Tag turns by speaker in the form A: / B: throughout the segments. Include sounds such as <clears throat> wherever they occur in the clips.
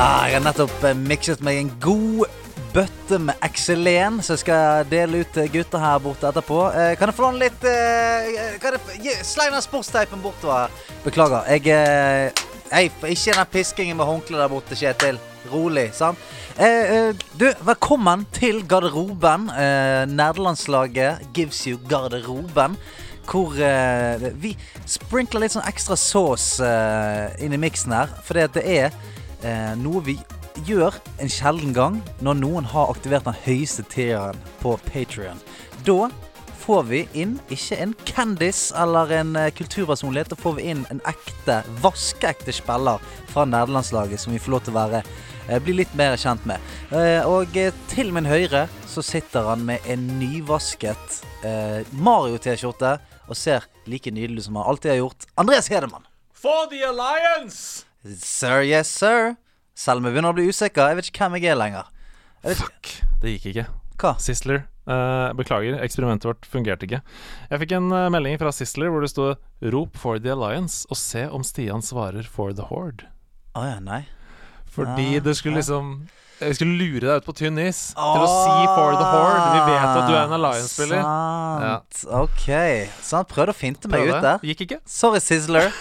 A: har jeg nettopp eh, mikset meg en god bøtte med Excelen, som jeg skal dele ut til gutta her borte etterpå. Eh, Kan jeg få låne litt eh, kan jeg, gi- Sleiv den sportsteipen bortover. Beklager. Jeg eh, Hei, for ikke den piskingen med håndkle der borte, Kjetil. Rolig, sant? Eh, eh, du, velkommen til garderoben. Eh, Nerdelandslaget gives you garderoben. Hvor eh, vi sprinkler litt sånn ekstra sauce eh, inn i miksen her. Fordi at det er eh, noe vi gjør en sjelden gang når noen har aktivert den høyeste tieren på Patrion. Da får vi inn ikke en Candice eller en eh, kulturpersonlighet, da får vi inn en ekte, vaskeekte spiller fra nederlandslaget som vi får lov til å være eh, bli litt mer kjent med. Eh, Og eh, til min høyre så sitter han med en nyvasket eh, Mario-T-skjorte og ser like nydelig ut som han alltid har gjort. Andreas Hedemann.
B: For the Alliance!
A: Sir, yes, sir. Selv om jeg begynner å bli usikker. Jeg vet ikke hvem jeg er lenger. Jeg vet ikke.
B: Det gikk ikke.
A: Hva?
B: Sisler, eh, beklager, eksperimentet vårt fungerte ikke. Jeg fikk en eh, melding fra Sisler hvor det stod 'Rop for the Alliance' og se om Stian svarer 'For the Horde'.
A: Å ja, nei.
B: Fordi
A: Ah,
B: det skulle liksom Jeg skulle lure deg ut på tynn is til å
A: Åh,
B: si 'For the Horde'. Vi vet at du er en Alliance-spiller.
A: Sant. Ok. Så han prøvde å finte meg
B: Prøvde.
A: ut der.
B: Gikk ikke. <laughs>
A: Sorry, Sizzler.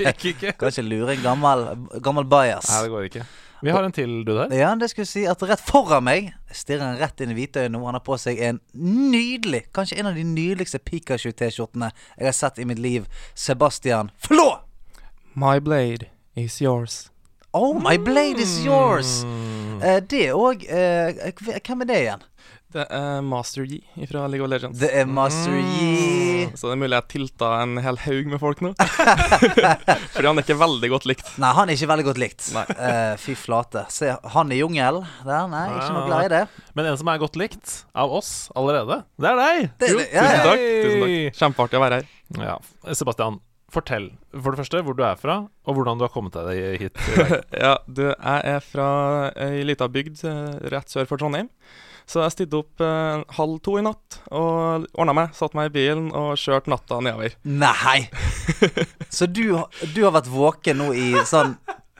B: Gikk ikke.
A: Kan ikke lure en gammel, gammel bias.
B: Nei, det går ikke. Vi har en til, du der.
A: Ja, det skulle si at rett foran meg stirrer han rett inn i hvitøyet nå. Han har på seg en nydelig, kanskje en av de nydeligste Pikachu-T-skjortene jeg har sett i mitt liv. Sebastian Flå!
C: My blade is yours.
A: Oh, my blade is yours!
B: Mm.
A: Eh, det òg Hvem er det igjen?
C: Det er Master Yi fra League of Legends.
A: Det er Master Yi.
C: Så det er mulig jeg tilta en hel haug med folk nå. <laughs> Fordi han er ikke veldig godt likt.
A: Nei, han er ikke veldig godt likt.
C: Nei.
A: Eh, fy flate. Se, han i jungel der. Nei, ikke noe glad i det.
B: Men en som er godt likt av oss allerede, det er deg.
A: Det-
B: Jo,
A: det- ja,
C: Tusen
A: ja.
C: takk. tusen takk Kjempeartig å være her.
B: Ja, Sebastian, fortell for det første hvor du er fra, og hvordan du har kommet deg hit. i dag.
C: Ja, du, jeg er fra ei lita bygd eh, rett sør for Trondheim. Så jeg stilte opp eh, halv to i natt og ordna meg. Satt meg i bilen og kjørte natta nedover.
A: Nei! Så du, har- du har vært våken nå i sånn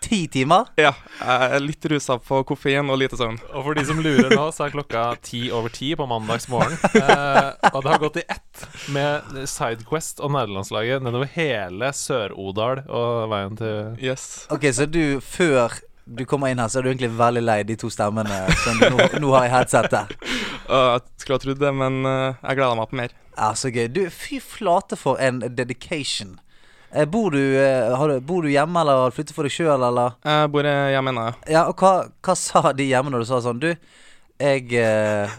A: ti timer?
C: Ja, jeg er litt rusa på koffein og lite søvn.
B: Og for de som lurer nå, så er klokka ti over ti på mandagsmorgen. Eh, og det har gått i ett med Sidequest og nederlandslaget nedover hele Sør-Odal og veien til
C: Yes.
A: Ok, så du, før du kommer inn her, så er du egentlig veldig lei de to stemmene som du nå, nå har i headsetet.
C: Og jeg skulle ha trodd det, men eh, jeg gleder meg på mer.
A: Ja, så gøy. Du, fy flate for en dedication. Eh, bor, du, eh, har du, bor du hjemme, eller har du flyttet for deg sjøl, eller?
C: Jeg bor eh, hjemme ennå, ja.
A: Ja, og hva, hva sa de hjemme når du sa sånn Du, jeg eh,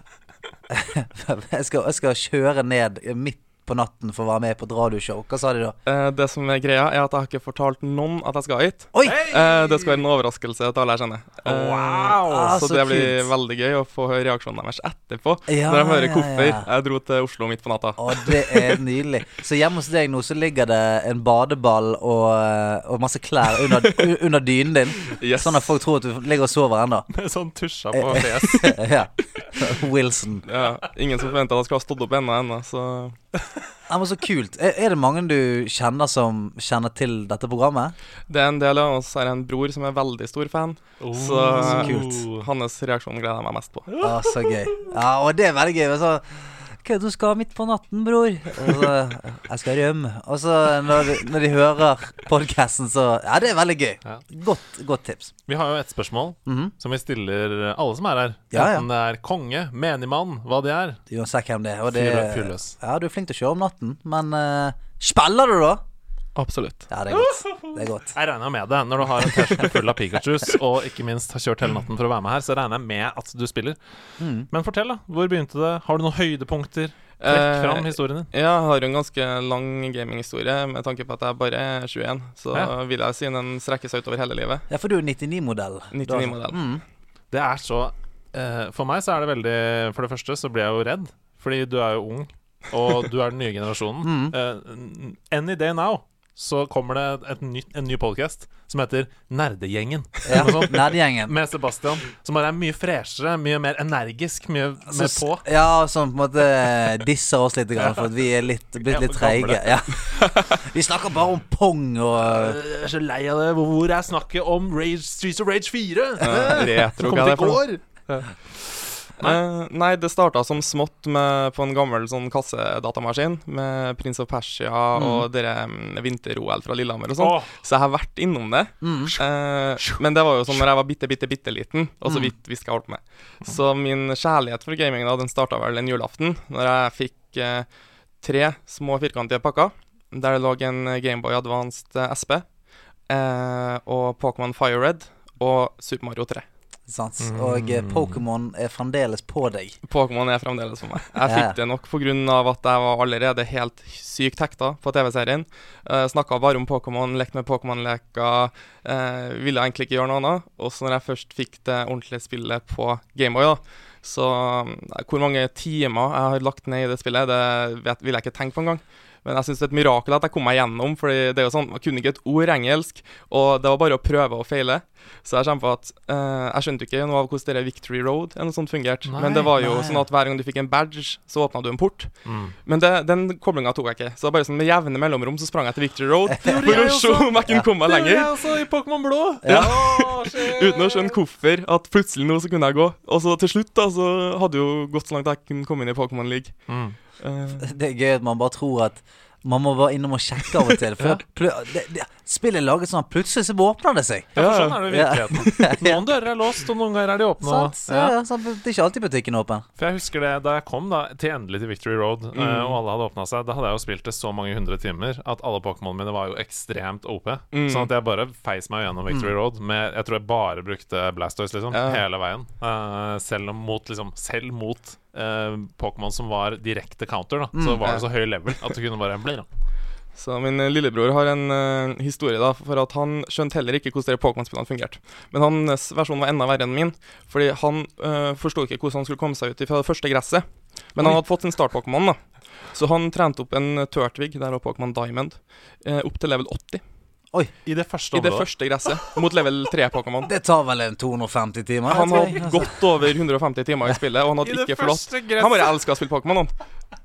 A: <laughs> jeg, skal, jeg skal kjøre ned midt på natten for å være med på et radioshow. Hva sa de da?
C: Eh, det som er greia, er at jeg har ikke fortalt noen at jeg skal hit.
A: Oi!
C: Eh, det skal være en overraskelse til alle jeg kjenner. Eh,
A: Ah,
C: så,
A: så
C: det blir
A: kult.
C: veldig gøy å få høre reaksjonen deres etterpå,
A: Ja,
C: når de hører
A: ja,
C: hvorfor
A: ja.
C: jeg dro til Oslo midt på natta.
A: Å, det er nydelig. Så hjemme hos deg nå så ligger det en badeball og, eh, og masse klær under, under dynen din.
C: Yes.
A: Sånn at folk tror at du ligger og sover ennå.
B: Med sånn tusja
A: <laughs>
B: på fjes.
A: ja. Wilson.
C: Ja, ingen som forventa at jeg skulle ha stått opp ennå, ennå, så
A: Ja, men så kult. Er, er det mange du kjenner som kjenner til dette programmet?
C: Det er en del av oss her en bror som er veldig stor fan, så,
B: Oh.
A: kult.
C: hans reaksjon gleder jeg meg mest på.
A: Å, så gøy. Ja, og det er veldig gøy. men Så, Hva er det du skal midt på natten, bror? Og så, jeg skal rømme. Og så når de, når de hører podkasten, så Ja, det er veldig gøy.
B: Ja.
A: Godt, godt tips.
B: Vi har jo et spørsmål
A: Mhm.
B: som vi stiller alle som er her.
A: Ja, ja.
B: Enten det er konge, menigmann, hva det er.
A: Uansett hvem det er. Og det,
B: Fyr løs, fyr løs.
A: ja, du er flink til å kjøre om natten, men eh, Spiller du, da?
C: Absolutt.
A: Ja, det er godt. Det er godt.
B: Jeg regner med det. Når du har en T-skjorte full av Pikachus og ikke minst har kjørt hele natten for å være med her, så regner jeg med at du spiller.
A: Mm.
B: Men fortell, da. Hvor begynte det? Har du noen høydepunkter? Trekk fram historien din.
C: Ja, jeg har jo en ganske lang gaminghistorie med tanke på at jeg bare er 21, så
B: Ja.
C: vil jeg si den strekker seg utover hele livet.
A: Ja, for du er 99-modell. Da-
C: 99-modell.
A: Mm.
B: Det er så eh, For meg så er det veldig For det første så blir jeg jo redd, <laughs> Mm. fordi du er jo ung, og du er den nye generasjonen. Eh, n- any day now så kommer det et nytt, en ny podkast som heter Nerdegjengen.
A: Ja,
B: Eller noe sånt.
A: Nerdegjengen.
B: Med Sebastian, som bare er mye freshere, mye mer energisk, mye mer
A: Så-
B: på.
A: Ja, som på en måte eh, disser oss litt, grann, for at vi er litt, blitt litt
B: Ja, gamle.
A: treige. Ja. <laughs> Vi snakker bare om pong og
B: Jeg er så lei av det. Hvor- Hvor er snakket om Rage, Streets of Rage <laughs> 4?
C: Eh, retro,
B: Som kom til
C: hva er det for
B: i
C: noe?
B: går.
C: Eh, nei, det starta som smått med, på en gammel sånn kassedatamaskin med Prince of Persia og dere mm, vinter-OL fra Lillehammer og sånn.
B: Åh.
C: Så jeg har vært innom det.
A: mm,
C: Eh, men det var jo sånn når jeg var bitte, bitte, bitte liten, og så
B: Mm.
C: vidt visste hva jeg holdt på med. Så min kjærlighet for gaming da, den starta vel en julaften, når jeg fikk eh, tre små firkantige pakker, der det lå en Gameboy Advanced eh, SP eh, og Pokémon Fire Red og Super Mario 3.
A: sant? Og eh,
B: Mm.
A: Pokémon er fremdeles på deg.
C: Pokémon er fremdeles for meg. Jeg
A: Ja, ja.
C: fikk det nok pga. at jeg var allerede helt sykt hekta på TV-serien. Uh, Snakka bare om Pokémon, lekte med Pokémon-leker. eh, ville egentlig ikke gjøre noe annet. Og så når jeg først fikk det ordentlige spillet på Gameboy, da, så eh, hvor mange timer jeg har lagt ned i det spillet, det vet, vil jeg ikke tenke på engang. Men jeg syns det er et mirakel at jeg kom meg gjennom, Fordi det er jo sånn, man kunne ikke et ord engelsk, og det var bare å prøve og feile. Så jeg kjempa at eh, Jeg skjønte jo ikke noe av hvordan det Victory Road eller noe sånt fungerte.
B: Nei,
C: Men det var jo
A: nei.
C: sånn at hver gang du fikk en badge, så åpna du en port.
B: Mm.
C: Men det, den koblinga tok jeg ikke. Så det var bare sånn med jevne mellomrom så sprang jeg til Victory Road
B: gjorde
C: for å
B: Eh, jeg sånn-
C: se
B: også.
C: om jeg kunne komme meg
B: Det gjorde
C: lenger.
B: jeg også i Pokémon Blå.
A: Ja.
B: Åh, shit.
C: Uten å skjønne hvorfor. At plutselig nå så kunne jeg gå. Og så til slutt da, så hadde det jo gått så langt jeg kunne komme inn i Pokémon League.
B: Mm.
C: Eh,
A: Det er gøy at man bare tror at man må bare innom og sjekke av og til. For pl- det, det, spillet er laget sånn at plutselig så åpner det seg.
B: Ja, for
C: Ja.
B: sånn er det i virkeligheten.
C: <laughs>
B: Noen dører er låst, og noen ganger er de åpne.
A: Sant?
B: og-
A: Ja.
B: Ja.
A: ja, sant? Det er ikke alltid butikken er åpen.
B: For jeg husker det, Da jeg kom da til endelig til Victory Road, eh, og alle hadde åpna seg, da hadde jeg jo spilt det så mange hundre timer at alle Pokémonene mine var jo ekstremt OP. Sånn at jeg bare feis meg gjennom Victory Road med Jeg tror jeg bare brukte Blastoise liksom,
C: Ja.
B: hele veien. Eh, selv om mot liksom, Selv mot eh, Pokémon som var direkte counter, da, så var det så høy level at du kunne bare blir, da.
C: Så min eh, lillebror har en eh, historie da, for at han skjønte heller ikke hvordan de Pokémon-spillene fungerte. Men hans versjon var enda verre enn min, fordi han uh, forsto ikke hvordan han skulle komme seg ut fra det første gresset. Men han hadde fått sin start-Pokémon, da. Så han trente opp en eh, Turtwig, der var Pokémon Diamond, eh, opp til level 80
B: I det første
C: i det
B: området.
C: første gresset, mot level
A: <laughs>
C: 3-Pokémon.
A: Det tar vel en 250 timer?
C: Han
A: jeg altså.
C: hadde
A: tror.
C: godt over 150 timer i spillet, og han
B: I
C: hadde
B: det
C: ikke forlatt
B: første
C: Han bare
B: gresset.
C: elska å spille Pokémon, han.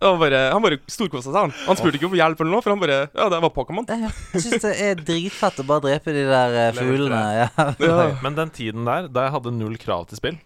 C: Han bare, han bare storkosa seg, han. Han spurte ikke om hjelp eller noe, for han bare Ja, det var Pokémon.
A: Ja, ja. Jeg syns det er dritfett å bare drepe de der eh,
B: Level
A: fuglene. Ja.
C: Ja.
B: Men den tiden der, da jeg hadde null krav til spill Jeg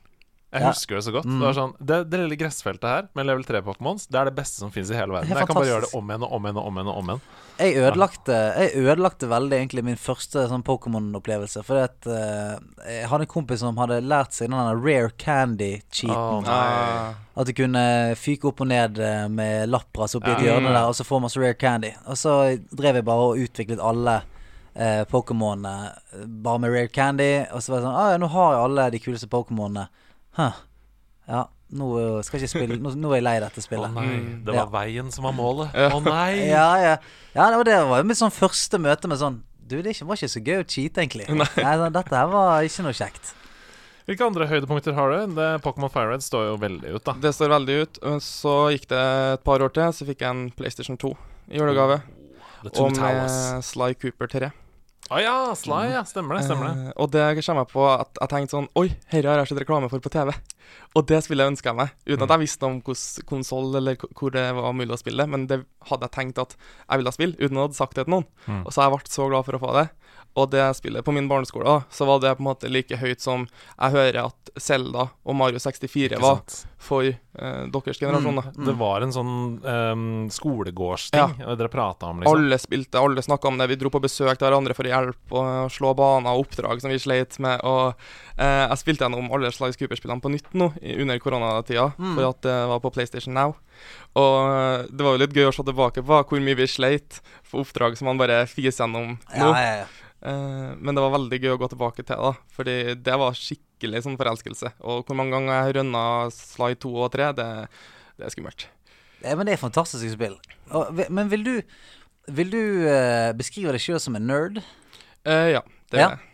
A: Ja. Mm.
B: husker det så godt. Det var sånn, det, det lille gressfeltet her med level 3-Pokémons, det er det beste som fins i hele verden.
A: Det er
B: Jeg kan bare gjøre det
A: fantastisk.
B: om igjen og om igjen og om igjen. og om igjen
A: Jeg ødelagte, jeg ødelagte veldig egentlig min første sånn Pokémon-opplevelse. Fordi at eh, jeg hadde en kompis som hadde lært seg den der rare candy-cheaten.
B: Åh, nei.
C: Ah.
A: At du kunne fyke opp og ned eh, med Lapras oppi et
B: Ja.
A: hjørne der, og så få masse rare candy. Og så drev jeg bare og utviklet alle eh, Pokémonene eh, bare med rare candy. Og så var det sånn Å ja, nå har jeg alle de kuleste Pokémonene. Huh. Ja, nå eh, skal jeg ikke spille Nå, nå er jeg lei dette
B: Å
A: spillet.
B: nei,
C: Mm.
B: det
A: Ja.
B: var veien som var målet. Å nei!
A: <laughs> Ja, ja. ja, det var det var jo mitt sånn første møte med sånn Du, det er ikke- var ikke så gøy å cheate, egentlig. Nei. sånn, dette her var ikke noe kjekt.
B: Hvilke andre høydepunkter har du? Det Pokémon FireRed står jo veldig ut, da.
C: Det står veldig ut. men Så gikk det et par år til, så fikk jeg en PlayStation 2 i julegave.
B: The Two
C: Og
B: Towers.
C: med Sly Cooper 3.
B: eh, Å ja, Sly, ja. Stemmer det. stemmer det
C: Eh, og det kommer jeg på at jeg tenkte sånn Oi, dette har jeg sett reklame for på TV. Og det spillet ønska jeg meg, uten
B: Mm.
C: at jeg visste om hvilken konsoll eller k- hvor det var mulig å spille. Men det hadde jeg tenkt at jeg ville spille, uten å ha sagt det til noen.
B: Mm.
C: Og så jeg ble så glad for å få det. Og det spillet på min barneskole, da, så var det på en måte like høyt som jeg hører at Selda og Mario 64
B: Ikke
C: var
B: sant?
C: for eh, deres generasjon. da.
A: Mm.
B: Det var en sånn ehm, skolegårdsting dere prata om, liksom.
C: Alle spilte, alle snakka om det. Vi dro på besøk til hverandre for å hjelpe og slå baner og oppdrag som vi sleit med. Og eh, jeg spilte gjennom alle slags Cooper-spillene på nytt nå i- under koronatida, for at det var på PlayStation Now. Og eh, det var jo litt gøy å se tilbake på hvor mye vi sleit for oppdrag som man bare fiser gjennom nå.
A: Ja, ja, ja.
C: Eh, men det var veldig gøy å gå tilbake til, da. Fordi det var skikkelig sånn forelskelse. Og hvor mange ganger jeg rønna Sly 2 og 3, det, det er skummelt.
A: Ja, Men det er fantastiske spill. Og, vi- men vil du Vil du eh, beskrive deg sjøl som en nerd?
C: Eh, ja, det
A: Ja.
C: er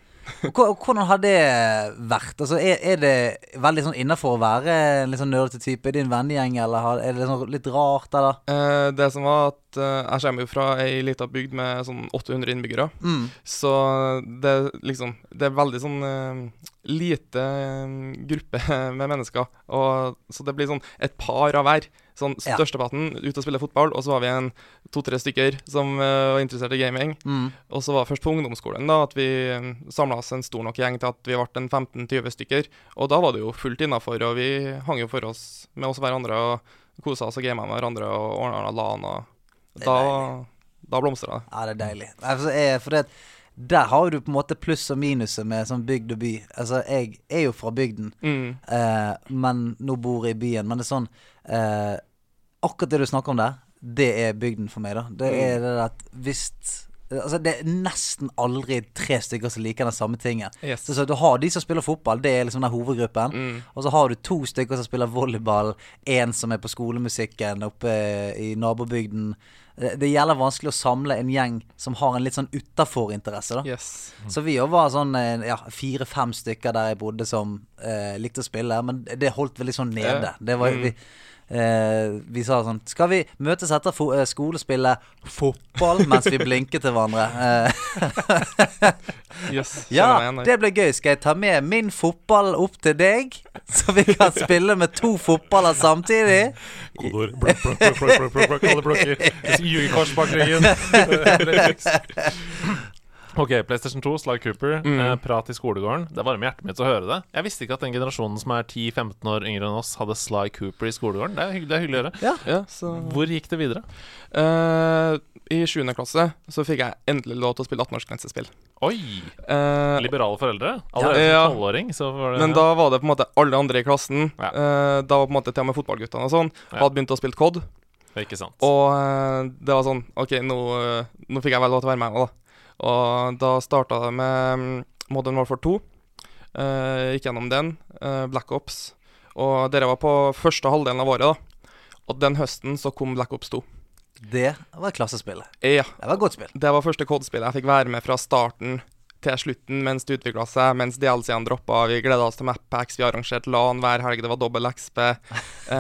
A: Og hva- og hvordan har det vært? Altså, er, er det veldig sånn innafor å være en litt sånn nerdete type i din vennegjeng, eller har, er det sånn litt rart, eller?
C: Eh, det som var at eh, jeg kommer jo fra ei lita bygd med sånn 800 innbyggere.
A: Mm.
C: Så det er liksom Det er veldig sånn eh, lite eh, gruppe <laughs> med mennesker. Og, så det blir sånn et par av hver. Sånn
A: Ja.
C: Størsteparten ute og spiller fotball, og så var vi en to-tre stykker som eh, var interessert i gaming.
A: Mm.
C: Og så var det først på ungdomsskolen da at vi samla oss en stor nok gjeng til at vi ble en 15-20 stykker. Og da var det jo fullt innafor, og vi hang jo for oss med oss hverandre og kosa oss og gama med hverandre og ordna LAN, og
A: Det er
C: da, da blomstra det.
A: Ja, det er deilig. Altså, jeg, for det, at der har du på en måte pluss og minuset med sånn bygd og by. Altså, jeg er jo fra bygden,
C: Mm.
A: eh, men nå bor jeg i byen. Men det er sånn eh, Akkurat det du snakker om der, det er bygden for meg, da. Det er det at hvis Altså, det er nesten aldri tre stykker som liker den samme tingen.
C: Yes.
A: Så, så du har de som spiller fotball, det er liksom den hovedgruppen. Og så har du to stykker som spiller volleyball, én som er på skolemusikken oppe i nabobygden. Det det gjelder vanskelig å samle en gjeng som har en litt sånn utafor-interesse, da.
C: Yes.
A: Så vi òg var sånn eh, ja, fire-fem stykker der jeg bodde som eh, likte å spille, men det holdt veldig sånn nede.
C: Ja.
A: Det var
B: Mm.
A: vi, eh, vi sa sånn Skal vi møtes etter fo eh, skolespille fotball mens vi blinker til hverandre? Eh, <laughs>
C: yes. Kjenner meg
A: ja,
B: Sånn
C: igjen der.
A: det blir gøy. Skal jeg ta med min fotball opp til deg, så vi kan spille med to fotballer samtidig?
B: Kodeord. Blokk, blokk, blokk, blokk, blokk, blokk, blokk, alle blokker. Jeg skal ljuge kors bak
C: <laughs>
B: ryggen. Ok, PlayStation 2, Sly Cooper, eh,
C: Mm.
B: prat i skolegården. Det varmer hjertet mitt å høre det. Jeg visste ikke at den generasjonen som er 10-15 år yngre enn oss, hadde Sly Cooper i skolegården. Det er, hygg- det er hyggelig å høre.
C: Ja, så
B: Hvor gikk det videre?
C: Eh, I 7. klasse så fikk jeg endelig lov til å spille 18-årsgrensespill.
B: Oi!
C: Eh,
B: Liberale foreldre. Allerede
C: Ja.
B: som tolvåring, så var det
C: men da var det på en måte alle andre i klassen.
B: Ja.
C: eh, da var på en måte til og med fotballguttene og sånn.
B: Ja.
C: Hadde begynt å spille COD.
B: Det er Ikke sant.
C: Og eh, det var sånn OK, nå, eh, nå fikk jeg vel lov til å være med, da. Og da starta det med mm, Modern Warfare 2. Eh, gikk gjennom den. eh, Black Ops. Og dere var på første halvdelen av året, da. Og den høsten så kom Black Ops 2.
A: Det var klassespillet.
C: Ja.
A: Det var et godt spill.
C: Det var første kodespillet jeg fikk være med fra starten til slutten mens det utvikla seg, mens DLC-ene droppa. Vi gleda oss til Mappacks, vi arrangerte LAN hver helg, det var dobbel XP. Eh,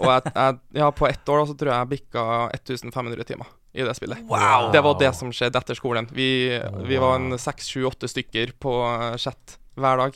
C: og jeg, jeg, ja, på ett år da, så tror jeg jeg bikka 1500 timer i det spillet.
B: Wow.
C: Det var det som skjedde etter skolen. Vi, vi var en seks, sju, åtte stykker på eh, chat hver dag.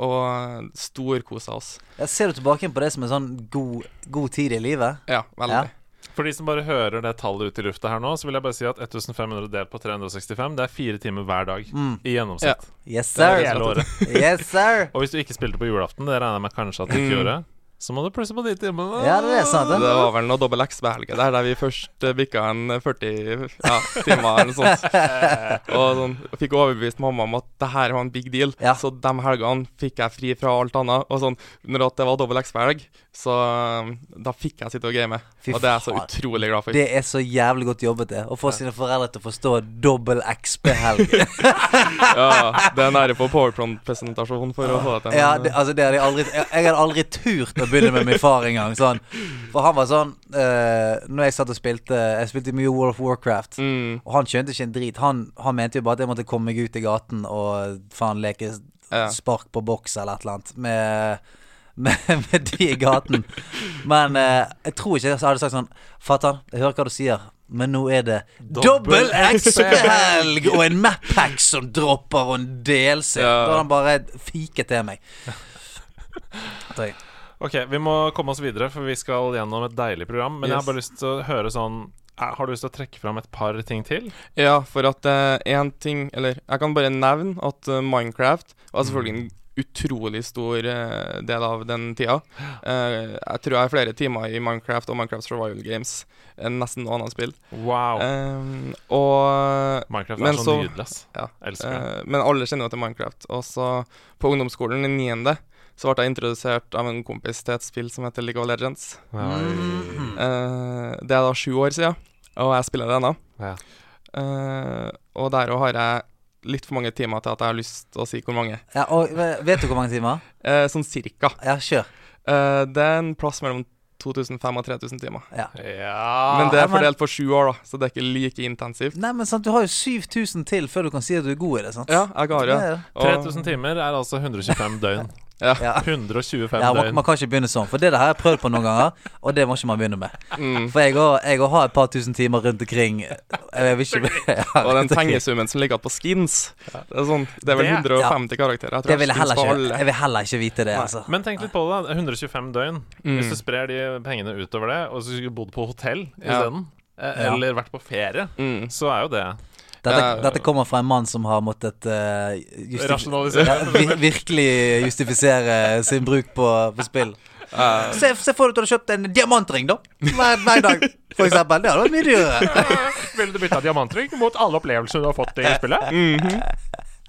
C: Og storkosa oss.
A: Jeg ser du tilbake på det som en sånn god, god tid i livet?
C: Ja, veldig.
A: Ja.
B: For de som bare hører det tallet ut i lufta her nå, så vil jeg bare si at 1500 delt på 365, det er fire timer hver dag i
C: Mm. Ja.
B: gjennomsnitt.
A: Yes,
B: Det
A: sir.
B: er hele året.
A: Yes, sir.
B: Og hvis du ikke spilte på julaften, det regner jeg med kanskje at du ikke
C: Mm.
B: gjorde, så må du plusse på de timene.
A: Ja, det er sant,
C: Det
A: det.
C: var vel noe dobbel X-behelge der, der vi først eh, bikka en 40 ja, timer eller noe sånt. Og sånn, fikk overbevist mamma om at det her var en big deal.
A: Ja.
C: Så de helgene fikk jeg fri fra alt annet. Og sånn, når at det var dobbel X-behelg, så um, da fikk jeg sitte og game.
A: Fy
C: Og det er jeg så
A: faen.
C: utrolig glad for.
A: Det er så jævlig godt jobbet, det. Å få sine foreldre til å forstå dobbel
C: <laughs>
A: XP-helg.
C: Ja, det er nære på powerpoint-presentasjon for å få det til.
A: Ja,
C: men,
A: det, altså det hadde jeg, aldri, jeg, jeg hadde aldri turt å begynne med min far engang. Sånn. For han var sånn eh, Når jeg satt og spilte Jeg spilte mye World of Warcraft.
C: Mm,
A: Og han skjønte ikke en drit. Han, han mente jo bare at jeg måtte komme meg ut i gaten og faen leke s-
C: Ja.
A: spark på boks eller et eller annet med, med, <laughs> med de i gaten. Men eh, jeg tror ikke jeg hadde sagt sånn Fatter'n, jeg hører hva du sier, men nå er det
B: Dobbel
A: dobbel XP-helg og en Mappack som dropper og en DLC.
C: Ja.
A: Da hadde han bare fiket til meg. Tror jeg.
B: Ok, vi må komme oss videre, for vi skal gjennom et deilig program. Men jeg har
C: Yes.
B: bare lyst til å høre sånn eh, Har du lyst til å trekke fram et par ting til?
C: ja, for at én ting Eller jeg kan bare nevne at eh, Minecraft var selvfølgelig en utrolig stor eh, del av den tida. Eh, jeg tror jeg har flere timer i Minecraft og Minecraft Survival Games enn nesten noe annet spill.
B: Wow.
A: Eh,
C: Ehm, og
B: Minecraft
C: men
B: er så,
C: så-
B: nydelig, ass.
C: ja,
B: Elsker det.
C: eh, Men alle kjenner jo til Minecraft. Og så på ungdomsskolen i niende så ble jeg introdusert av en kompis til et spill som heter League of Legends.
A: Mhm.
C: Eh, det er da sju år siden, og jeg spiller det ennå.
B: Ja.
C: Eh, og der òg har jeg litt for mange timer til at jeg har lyst til å si hvor mange.
A: Ja, og vet du hvor mange timer?
C: Eh, sånn cirka.
A: Ja, kjør.
C: Eh, det er en plass mellom 2005 og 3000 timer.
A: Ja.
B: Ja
C: Men det
A: Ah, ja,
C: er
A: men-
C: fordelt på sju år, da, så det er ikke like intensivt.
A: Nei, men sant, du har jo 7000 til før du kan si at du er god i det, sant?
C: Ja, jeg har
A: Det
C: det.
A: er det.
C: Og-
B: 3000 timer er altså
A: <laughs>
B: 125 døgn.
A: Ja.
B: 125
A: Ja, man,
B: døgn.
A: man kan ikke begynne sånn, for det der har jeg prøvd på noen ganger, og det må ikke man begynne med.
C: Mm.
A: For jeg har- jeg har et par tusen timer rundt omkring. Jeg vil ikke <laughs> ja,
C: Og den
A: rundt omkring.
C: pengesummen som ligger på skins, det er, sånn, det er vel
B: Det-
C: 150 karakterer. Jeg tror
A: Det vil jeg
C: skins
A: heller
C: på
A: ikke,
C: alle.
A: jeg vil heller ikke vite det, altså. Mm.
B: Men tenk litt på det. da. 125 døgn. Hvis du sprer de pengene utover det, og så skulle du bodd på hotell
C: Ja.
B: isteden, eh,
A: Ja.
B: eller vært på ferie,
C: Mm.
B: så er jo det
A: Dette,
C: Eh,
A: dette kommer fra en mann som har måttet eh, justi-
B: rasjonalisert.
A: Ja, vi, virkelig justifisere sin bruk på, på spill.
C: Eh,
A: Se, se for deg at du hadde kjøpt en diamantring, da. Hver, hver dag, for eksempel. Det hadde vært mye dyrere.
B: <laughs> Ville du bytta diamantring mot alle opplevelser du har fått i spillet?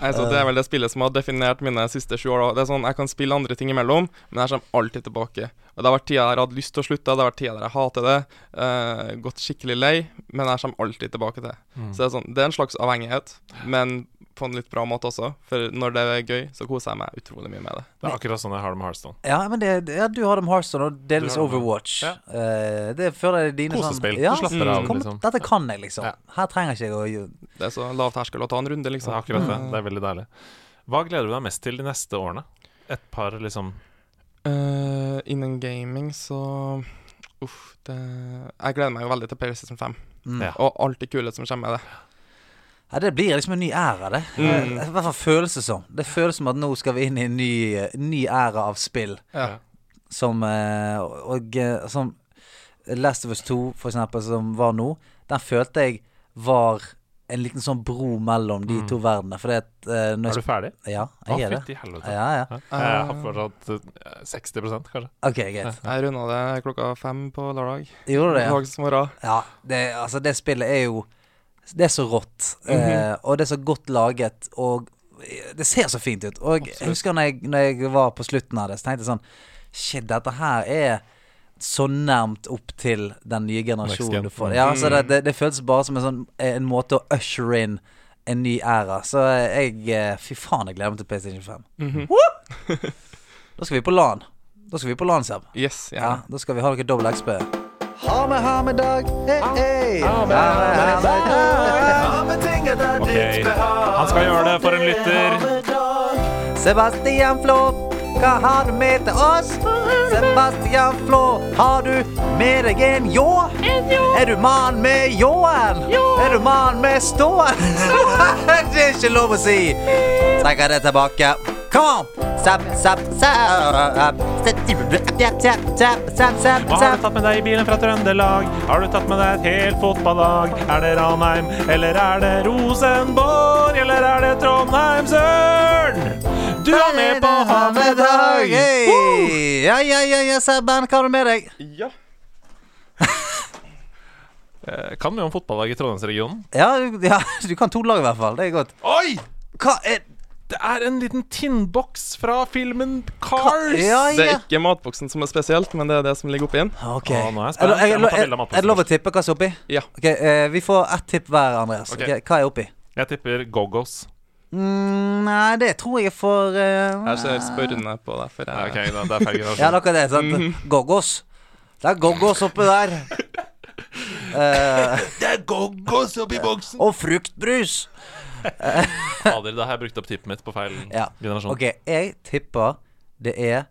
C: Nei, så Det er vel det spillet som har definert mine siste sju år. da. Det er sånn, Jeg kan spille andre ting imellom, men jeg kommer alltid tilbake. Og Det har vært tider jeg har hatt lyst til å slutte, det har vært tider jeg hater det. eh, gått skikkelig lei, men jeg kommer alltid tilbake til det. Så det er, sånn, det er en slags avhengighet, men på en litt bra måte også. For når det er gøy, så koser jeg meg utrolig mye med det.
B: Det er akkurat sånn jeg har det med Heartstone.
A: Ja, men det, ja, du har dem Hearthstone og delvis
B: Du har dem, ja.
A: Overwatch.
B: Ja.
A: Eh, det føler jeg er dine
B: Kosespill.
A: Sånn, ja,
B: Du slapper av,
A: kom,
B: liksom.
A: Dette kan jeg, liksom.
B: Ja.
A: Her trenger ikke jeg å gjøre
C: Det er så lav terskel å ta en runde,
B: Så det
C: liksom.
B: er akkurat
A: Mm.
B: det. Det er veldig deilig. Hva gleder du deg mest til de neste årene? Et par liksom
C: Eh, innen gaming, så Uff, det Jeg gleder meg jo veldig til PlayStation 5,
A: mm.
B: Ja.
C: og alt det kule som kommer med det.
A: Ja, det blir liksom en ny æra, det.
C: Mm.
A: Eh, I hvert fall føles det som. Det føles som at nå skal vi inn i en ny, eh, ny æra av spill.
C: Ja.
A: Som eh, Og eh, som Last of Us 2, for eksempel, som var nå, den følte jeg var en liten sånn bro mellom de to verdenene. Fordi at eh, når
B: Mm. Er
A: jeg,
B: du ferdig?
A: Ja,
B: Å,
A: jeg er det.
B: fytti helvete.
A: Ja, ja.
B: Ja. Jeg har fortsatt eh, 60 kanskje.
A: OK, greit.
C: Jeg runda det klokka fem på lørdag.
A: Gjorde du det? Ja.
C: Dagens morgen.
A: ja det, altså, det spillet er jo Det er så rått. eh,
B: Mhm.
A: og det er så godt laget, og eh, det ser så fint ut. Og jeg husker når jeg, når jeg var på slutten av det, så tenkte jeg sånn Shit, dette her er så nærmt opp til den nye generasjonen du
B: Next
A: får.
B: gen. Mhm.
A: Ja, så det, det, det føltes bare som en, sånn, en måte å usher in en ny æra. Så jeg eh, Fy faen, jeg gleder meg til PlayStation 5.
C: Mhm.
B: <laughs>
A: Woo! Da skal vi på LAN. Da skal vi på LAN, Seb.
C: Yes.
A: Ja,
C: Ja.
A: da skal vi ha noe dobbel XP. Ha med, ha med dag. Hei, hei. Ha med, ting etter
B: Ok. Han skal gjøre det for en lytter.
A: Sebastian Flå, hva har du med til oss? Sebastian Flå, har du med deg en ljå? Er du mann med ljåen? Er du mann med ståen? <laughs> det er ikke lov å si. Trekker det tilbake. Kom an! Zapp, zapp, zapp. Zapp, zapp, zapp, zapp, zapp,
B: Hva har du
A: zapp.
B: tatt med deg i bilen fra Trøndelag? Har du tatt med deg et helt fotballag? Er det Ranheim, eller er det Rosenborg, eller er det Trondheim, søren? Du er med på Hamedag!
A: Hey. Ja, ja, ja, ja, Sebben, hva har du med deg?
C: ja.
B: Eh, Kan mye om fotballag i Trondheimsregionen.
A: Ja, du- ja, du kan to lag i hvert fall. Det er godt.
B: Oi!
A: Hva er
B: Det er en liten tinnboks fra filmen Cars.
A: Ja,
C: Det er
A: ja.
C: ikke matboksen som er spesielt, men det er det som ligger oppi den.
A: Ok.
B: Å, nå er jeg spent.
A: Er det-
B: Jeg må ta
A: er-
B: bilde av matposten
A: Er det lov å tippe hva som er oppi?
C: Ja.
A: Ok, eh, Vi får ett tipp hver, Andreas.
B: Ok.
A: Ok, Hva er oppi?
B: Jeg tipper Gogos.
A: Mm, nei, det tror jeg er for eh,
C: Jeg ser spørrende på deg, for
B: Ok,
C: jeg
B: da, det er feil
A: Ja,
B: generasjon.
A: det er akkurat det. Sant?
B: Mhm.
A: Goggos. Det er goggos oppi der.
B: <laughs>
A: Eh,
B: det er Gogos oppi boksen!
A: og fruktbrus.
B: <laughs> Fader, da har jeg brukt opp tippet mitt på feil
A: Ja.
B: generasjon.
A: Ok, jeg tipper det er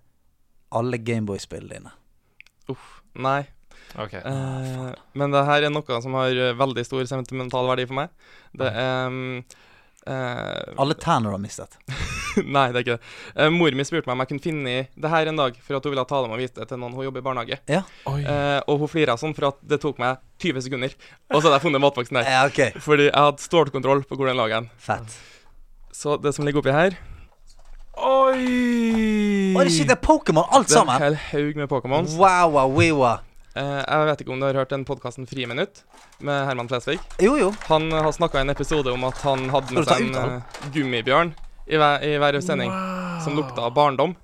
A: alle Gameboy-spillene dine.
C: Uff. Nei.
B: Ok.
C: Eh, men det her er noe som har eh, veldig stor sentimental verdi for meg. Det er mm, eh, <laughs>
A: Alle tærne du har mistet.
C: Nei, det er ikke det. Eh, mor mi spurte meg om jeg kunne finne i det her en dag, for at hun ville ta det med og vise det til noen hun jobber i barnehage.
A: Ja,
B: Oi.
C: Eh, og hun flira sånn for at det tok meg 20 sekunder, og så hadde jeg funnet matboksen <laughs> der.
A: ja ok.
C: Fordi jeg hadde stålkontroll på hvor den lå hen.
A: Fett.
C: Så det som ligger oppi her,
B: Oi!
A: Oi, det shit, det er Pokémon alt
C: det er en
A: sammen!
C: hel haug med Pokémons.
A: Wow, wow, wow, wow.
C: Eh, jeg vet ikke om du har hørt den podkasten Friminutt med Herman Flesvig.
A: Jo, jo.
C: Han eh, har snakka i en episode om at han hadde
A: Skal du
C: med
A: ta
C: seg en
A: uttalen?
C: eh, gummibjørn i hver, i hver sending som lukta av barndom.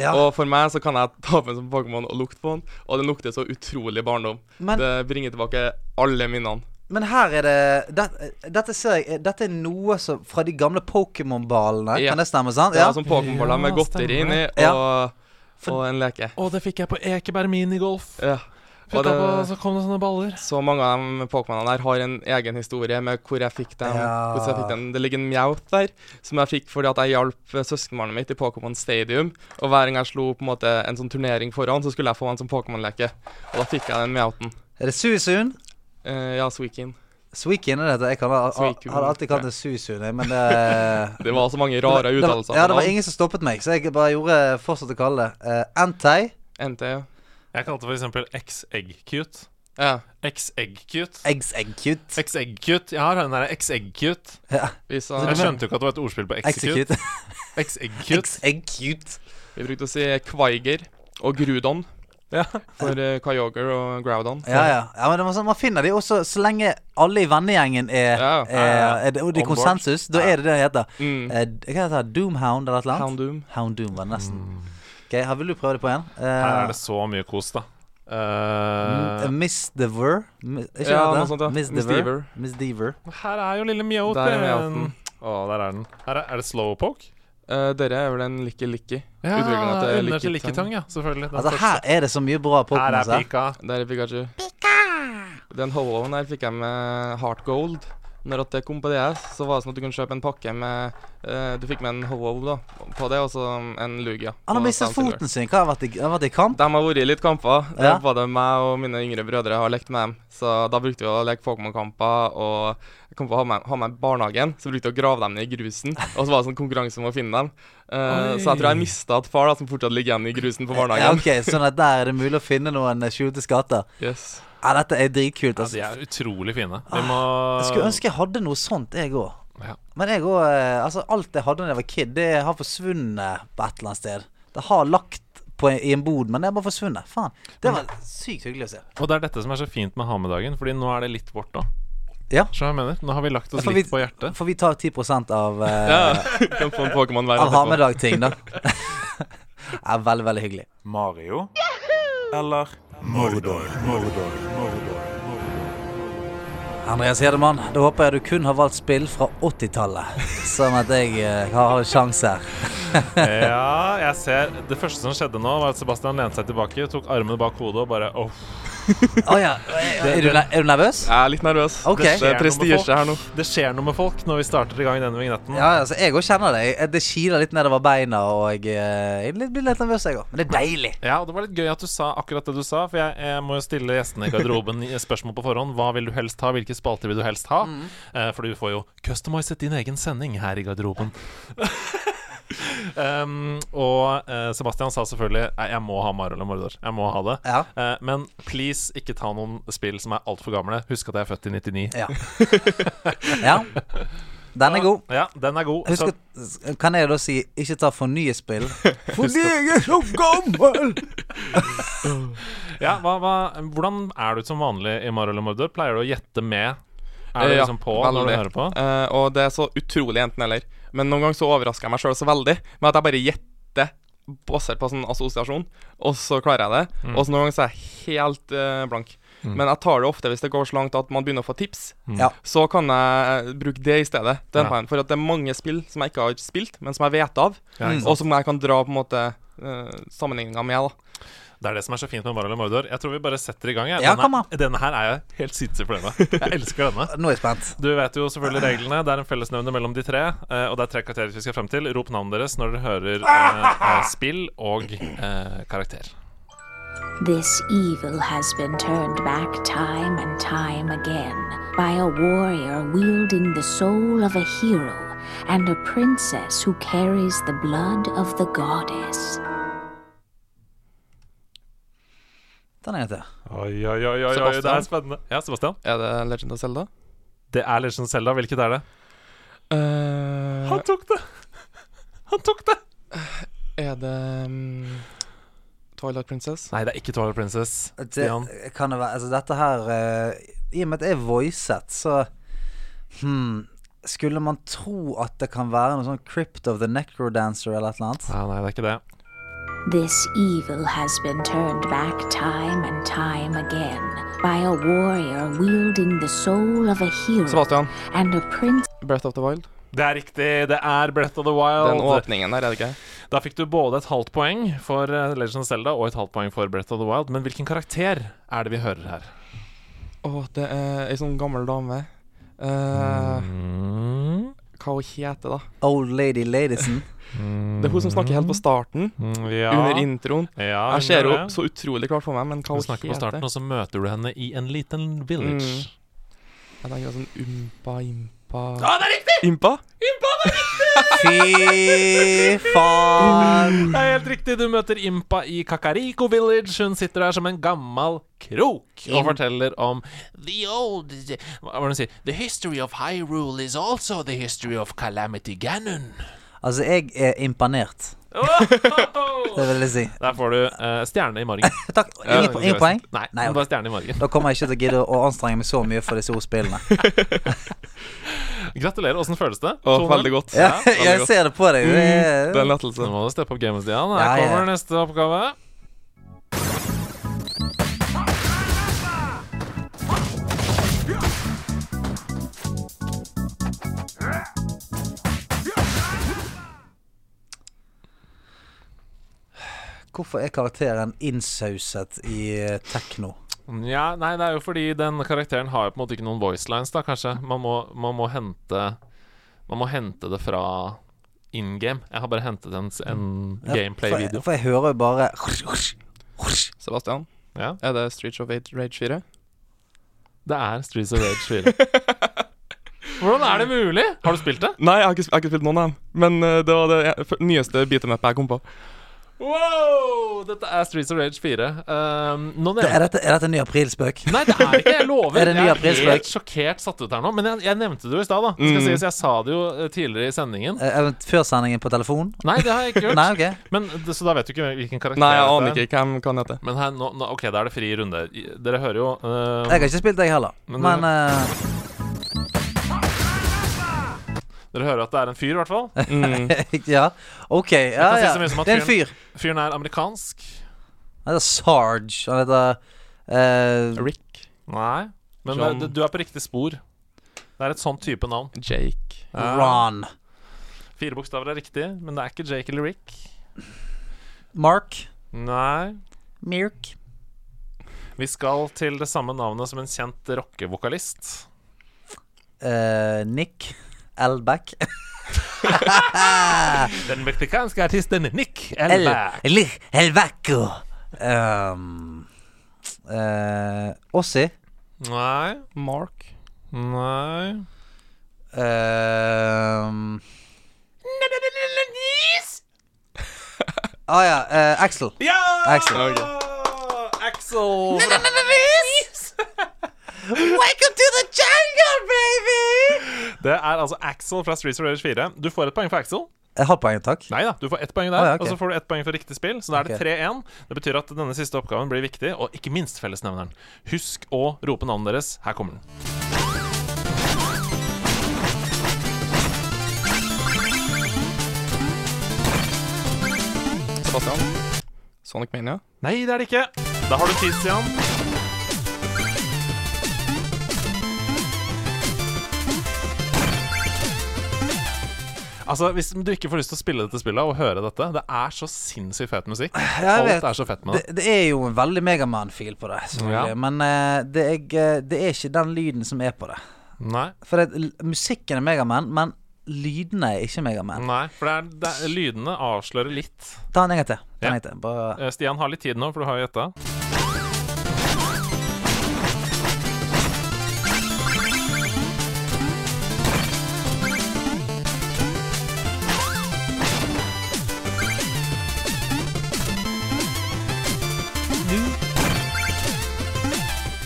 A: Ja.
C: Og for meg så kan jeg ta på en sånn Pokémon og lukte på den, og den lukter så utrolig barndom.
A: Men-
C: det bringer tilbake alle minnene.
A: Men her er det, det Dette ser jeg Dette er noe som Fra de gamle Pokémon-ballene,
C: Ja.
A: kan det stemme? sant?
C: Det
A: Ja. altså-
C: var sånn Pokémon-baller med
B: Ja,
C: godteri
B: stemmer
C: inni,
B: det.
C: og og en leke.
B: Å, det fikk jeg på Ekeberg minigolf.
C: Ja. Og
B: Putta
C: det-
B: på, så kom det sånne baller.
C: Så mange av de Pokémonene der har en egen historie med hvor jeg fikk dem.
A: Ja.
C: Hvordan jeg fikk dem. Det ligger en Mjauth der, som jeg fikk fordi at jeg hjalp eh, søskenbarnet mitt i Pokémon Stadium. Og hver gang jeg slo på en måte en sånn turnering foran, så skulle jeg få en sånn Pokémon-leke. Og da fikk jeg den Mjauthen.
A: Er det Suisun?
C: Eh, ja, Suikin.
A: Sweekin er det. Jeg kan, har
C: Suicune.
A: har alltid kalt det Suisun, jeg, men det <laughs>
C: Det var så mange rare
A: Det var-
C: uttalelser.
A: Ja, det var ingen som stoppet meg, så jeg bare gjorde fortsatte å kalle det eh, Anti.
C: NT, ja.
B: Jeg kalte for eksempel X-egg-cute.
C: ja.
B: X-egg-cute.
A: Eggs Egg-Cute.
B: X-egg-cute. Jeg har den der X-egg-cute.
A: Ja,
C: Vi, sa,
B: Jeg skjønte jo ikke at det var et ordspill på execute.
A: Execute. <laughs>
B: Execute.
A: Egg-Cute.
C: vi brukte å si Kvaiger og Grudon
B: Ja.
C: for uh, Kyogre og Groudon.
A: Ja, ja. ja men det var sånn, Man finner de også så lenge alle i vennegjengen er,
C: Ja, ja,
B: ja.
A: er, er det- og det er
B: On board.
A: konsensus. Da er det det det heter.
C: Mm.
A: Eh, hva heter det? Doomhound eller et eller annet?
C: Houndoom.
A: Houndoom var det nesten. Ok, her Vil du prøve det på igjen?
B: Mm.
A: Eh,
B: Her er det så mye kos, da. Eh,
A: Miss Dever? Mi- er Ikke
C: Ja,
A: det
C: noe sånt, ja.
A: Miss
C: Miss
A: Dever.
C: Deaver.
A: Miss Deaver.
B: her er jo lille Mjau.
C: Der er Mjauten.
B: Å, der er den. Her er, er det Slowpoke?
C: Eh, dere er vel en Likki Likki.
B: Ja,
C: Utviklingen til
B: under til
C: Likitang.
B: Likitang, ja. Selvfølgelig. Den
A: Altså,
B: første.
A: her er altså. det så mye bra
B: her
A: Pokémon.
B: er pika.
C: Der er Pikachu. Den hollowen her fikk jeg med Heart Gold. Når at det kom på DS, så var det sånn at du kunne kjøpe en pakke med eh, Du fikk med en hollow da, på det, og så en Lugia.
A: Han har
C: og
A: mistet
C: Sound Silver.
A: foten sin. Hva har vært i, har vært i kamp?
C: De har vært i litt kamper.
A: Ja.
C: Ja. Både meg og mine yngre brødre har lekt med dem. Så da brukte vi å leke Pokémon-kamper, og jeg kom på å ha med, ha med barnehagen. Så brukte vi å grave dem ned i grusen, og så var det sånn konkurranse om å finne dem. Eh, så jeg tror jeg mista et par da, som fortsatt ligger igjen i grusen på
A: Ja,
C: barnehagen.
A: ok, Sånn at der er det mulig å finne noen eh, skjulte skatter.
C: Yes.
A: Ja, dette er dritkult.
B: Ja,
A: Altså.
B: de er utrolig fine. Vi må
A: Ah. Jeg skulle ønske jeg hadde noe sånt, jeg òg.
B: Ja.
A: Men jeg òg Altså, alt jeg hadde da jeg var kid, det har forsvunnet på et eller annet sted. Det har lagt på en, i en bod, men det har bare forsvunnet. Faen. Det var sykt hyggelig å se.
B: Og det er dette som er så fint med ha-med-dagen, Fordi nå er det litt vårt òg.
A: Ja.
B: Skjønner du hva jeg mener? Nå har vi lagt oss
A: Får vi-
B: litt på hjertet.
A: Får vi ta 10 av, eh,
C: <laughs> Ja. Kan få en Pokémon hver
A: av
C: etterpå.
A: ha med dag-ting, da? ja, veldig, veldig hyggelig.
D: Mario eller Mordor. Mordor. Mordor.
A: Andreas Hedemann, da håper jeg du kun har valgt spill fra 80-tallet, sånn at jeg eh, har en sjanse her.
B: Ja, jeg ser Det første som skjedde nå, var at Sebastian lente seg tilbake, tok armene bak hodet og bare Åh,
A: Å ja. Er du, ne- er du nervøs?
C: Jeg er litt nervøs.
A: Ok.
C: Det er prestisje her nå.
B: det skjer noe med folk når vi starter i gang denne vignetten.
A: Ja, altså, jeg òg kjenner det. Jeg- Det kiler litt nedover beina, og jeg, eh, jeg blir litt nervøs, jeg òg. Men det er deilig.
B: Ja, og Det var litt gøy at du sa akkurat det du sa, for jeg, jeg må jo stille gjestene i garderoben i spørsmål på forhånd. Hva vil du helst ha? Hvilke spalter vil du helst ha?
A: Mm.
B: Eh, for du får jo customizet din egen sending her i
A: <laughs>
B: garderoben. um, og eh, Sebastian sa selvfølgelig Nei, jeg må ha Mario eller Mordor. Jeg må ha det.
A: Ja.
B: Eh, men please, ikke ta noen spill som er altfor gamle. Husk at jeg er født i 99. <laughs>
A: Ja. ja. Den er god.
B: Ja, den er god.
A: Husk
B: Så-
A: at, kan jeg da si 'ikke ta for
B: <laughs>
A: nye spill'? Fordi jeg er så gammel!
B: Ja, hva, hva, hvordan er du som vanlig i Mario eller Mordor? Pleier du å gjette med? Er du
C: Eh, ja,
B: liksom på
C: veldig.
B: når du hører på?
C: Eh, og det er så utrolig enten-eller. Men noen ganger så overrasker jeg meg sjøl så veldig med at jeg bare gjetter basert på sånn assosiasjon, og så klarer jeg det.
B: Mm.
C: Og så noen ganger så er jeg helt eh, blank. Men jeg tar det ofte hvis det går så langt at man begynner å få tips.
A: Ja.
C: Så kan jeg bruke det i stedet.
B: Mm.
C: Den
B: Ja.
C: veien, for at det er mange spill som jeg ikke har spilt, men som jeg vet av,
B: Ja, ikke sant?
C: og som jeg kan dra på en måte eh, sammenligninga med. da
B: Det er det som er så fint med Mario eller Mordor. Jeg tror vi bare setter i gang. Jeg.
A: Ja, kom
B: denne,
A: an.
B: denne her er jeg helt sinnssyk for
A: <laughs>
B: denne. Jeg elsker denne.
A: Nå er jeg spent.
B: Du vet jo selvfølgelig reglene. Det er en fellesnevner mellom de tre. eh, Og det er tre karakterer vi skal frem til. Rop navnet deres når dere hører eh,
A: <laughs>
B: eh, spill og eh, karakter.
E: This evil has been turned back time and time again by a warrior wielding the soul of a hero and a princess who carries the blood of the goddess.
A: Den er en til.
B: Oi, oi, oi, oi, oi det
C: Sebastian.
B: er spennende. Ja, Sebastian.
C: Er det Legend of Zelda?
B: Det er Legend of Zelda. Hvilket er det?
C: Eh,
B: Han tok det! Han tok det!
C: er det mm, Twilight Princess?
B: Nei, det er ikke Twilight Princess. Stian.
A: Det, kan det være Altså, dette her eh, I og med at jeg er voicet, så hmm, Skulle man tro at det kan være noe sånn Crypt of the Necrodancer eller et eller annet?
B: Ja, nei, det er ikke det.
E: This evil has been turned back time and time again by a warrior wielding the soul of a hero
C: Sebastian.
E: and a prince.
C: Breath of the Wild.
B: Det er riktig, det er Breath of the Wild.
C: Den åpningen der, er det ikke?
B: Da fikk du både et halvt poeng for eh, Legend of Zelda og et halvt poeng for Breath of the Wild. Men hvilken karakter er det vi hører her?
C: Å, det er ei sånn gammel dame. Eh,
B: Mm,
C: Hva hun heter da?
A: Old Lady
B: <laughs>
A: Ladison.
C: Det er hun som snakker helt på starten,
B: mm, ja.
C: under introen.
B: ja,
C: Jeg ser
B: gjør
C: henne
B: det.
C: så utrolig klart for meg, men hva
B: Du
C: hun
B: snakker på
C: heter Mm.
B: starten, og så møter du henne i en liten village.
C: Jeg tenker sånn Umpa, Impa Ja, det er riktig! Impa?
A: Fy faen!
B: Det er helt riktig, du møter Impa i Kakariko Village. Hun sitter der som en gammel krok og forteller om The old Hva var det hun sier? The history of Hyrule is also the history of Calamity Ganon.
A: Altså, jeg er imponert. Det vil jeg si.
B: Der får du eh, stjerne i margen.
A: Takk. Ingen,
B: Ja,
A: ingen poeng?
B: Nei,
A: Nei, ok.
B: bare stjerne i margen.
A: Da kommer jeg ikke til å gidde å anstrenge meg så mye for disse ordspillene.
B: <laughs> Gratulerer. Åssen føles det?
C: Å,
B: Tone?
C: veldig godt.
A: Ja,
C: veldig
A: jeg
C: godt. Mm,
A: ser det på deg. Det
B: Mm,
C: Det er
A: er,
C: en
B: Nå
C: lettelse.
B: må du steppe opp gamet, Stian.
A: Ja,
B: Her
A: ja, ja.
B: kommer neste oppgave.
A: hvorfor er karakteren innsauset i eh, tekno?
B: Ja, nei, det er jo fordi den karakteren har jo på en måte ikke noen voicelines, da, kanskje. Man må, man må hente Man må hente det fra in game. Jeg har bare hentet en, s- en
A: Ja,
B: gameplay-video.
A: For, jeg- for jeg hører jo bare
C: Sebastian,
B: Ja.
C: er det Streets of Age Rage 4?
B: Det er Streets of Rage 4. Hvordan er det mulig? Har du spilt det?
C: Nei, jeg har ikke, sp- jeg har ikke spilt noen av dem. Men eh, det var det eh, f- nyeste beatemapet jeg kom på.
B: Wow! Dette er Streets of Rage 4. Um, nå
A: Er
B: nevnte
A: dette, er dette en ny aprilspøk?
B: Nei, det er ikke jeg lover.
A: Er det ny
B: jeg er
A: aprilspøk?
B: helt sjokkert satt ut her nå. Men jeg, jeg nevnte det jo i stad, da. Skal
C: Mm.
B: sies, jeg sa det jo eh, tidligere i sendingen.
A: Eh, event- Før sendingen på telefon?
B: Nei, det har jeg
A: <laughs>
B: ikke gjort.
A: Nei, ok.
B: Men, det- så da vet du ikke hvilken karakter
C: Nei, jeg
B: dette
C: aner
B: er.
C: ikke hvem kan hete.
B: Men her, nå, nå, ok, da er det fri runde. I- Dere hører jo eh,
A: Jeg har ikke spilt, jeg heller.
B: Men-
A: Men eh,
B: Dere hører at det er en fyr, i hvert fall.
C: Mm.
A: eh, <laughs> Ja. OK. Ja,
B: kan si
A: ja.
B: så mye som at
A: Det er en fyr.
B: Fyren er amerikansk.
A: Han heter Sarge. Han heter eh,
C: <laughs> Rick,
B: Nei. Men
C: John.
B: eh, du, du er på riktig spor. Det er et sånn type navn.
C: Jake
B: Ja.
A: Ron.
B: Fire bokstaver er riktig, men det er ikke Jake eller Rick.
A: Mark.
B: Nei.
A: Mirk.
B: Vi skal til det samme navnet som en kjent rockevokalist.
A: eh, Nick. Elback.
B: Den meksikanske artisten Nick
A: El,
B: Elba.
A: El, Elbacco. Um, eh, Ossi.
B: Nei.
C: Mark.
B: Nei.
A: Um, ah ja. eh, Axel.
B: Ja!
A: Axel.
B: Axel fra
A: Welcome to the jungle, baby!
B: Det er altså Axel fra Streets of Rage 4. Du får et poeng for Axel.
A: Halvt poeng, takk.
B: Nei da, du får ett poeng der,
A: Å, ja, ok.
B: og så får du ett poeng for riktig spill. Så da er det
A: Ok.
B: 3-1. Det betyr at denne siste oppgaven blir viktig, og ikke minst fellesnevneren. Husk å rope navnet deres. Her kommer den.
C: Sebastian. Sonic Mania.
B: Nei, det er det ikke. Da har du tid, Stian. Altså, Hvis du ikke får lyst til å spille dette spillet og høre dette Det er så sinnssykt fet musikk.
A: jeg vet.
B: Alt er så fett med det.
A: Det, det er jo en veldig Megaman-fil på det, selvfølgelig.
B: Ja.
A: Men eh, det, er, eh, det er ikke den lyden som er på det.
B: Nei,
A: For det, l- musikken er Megaman, men lydene er ikke Megaman.
B: nei, for det er, det er, lydene avslører litt.
A: Ta en gang til. Ta en
B: Mm. Ja.
A: gang til. Bare,
B: Eh, Stian har litt tid nå, for du har jo gjetta.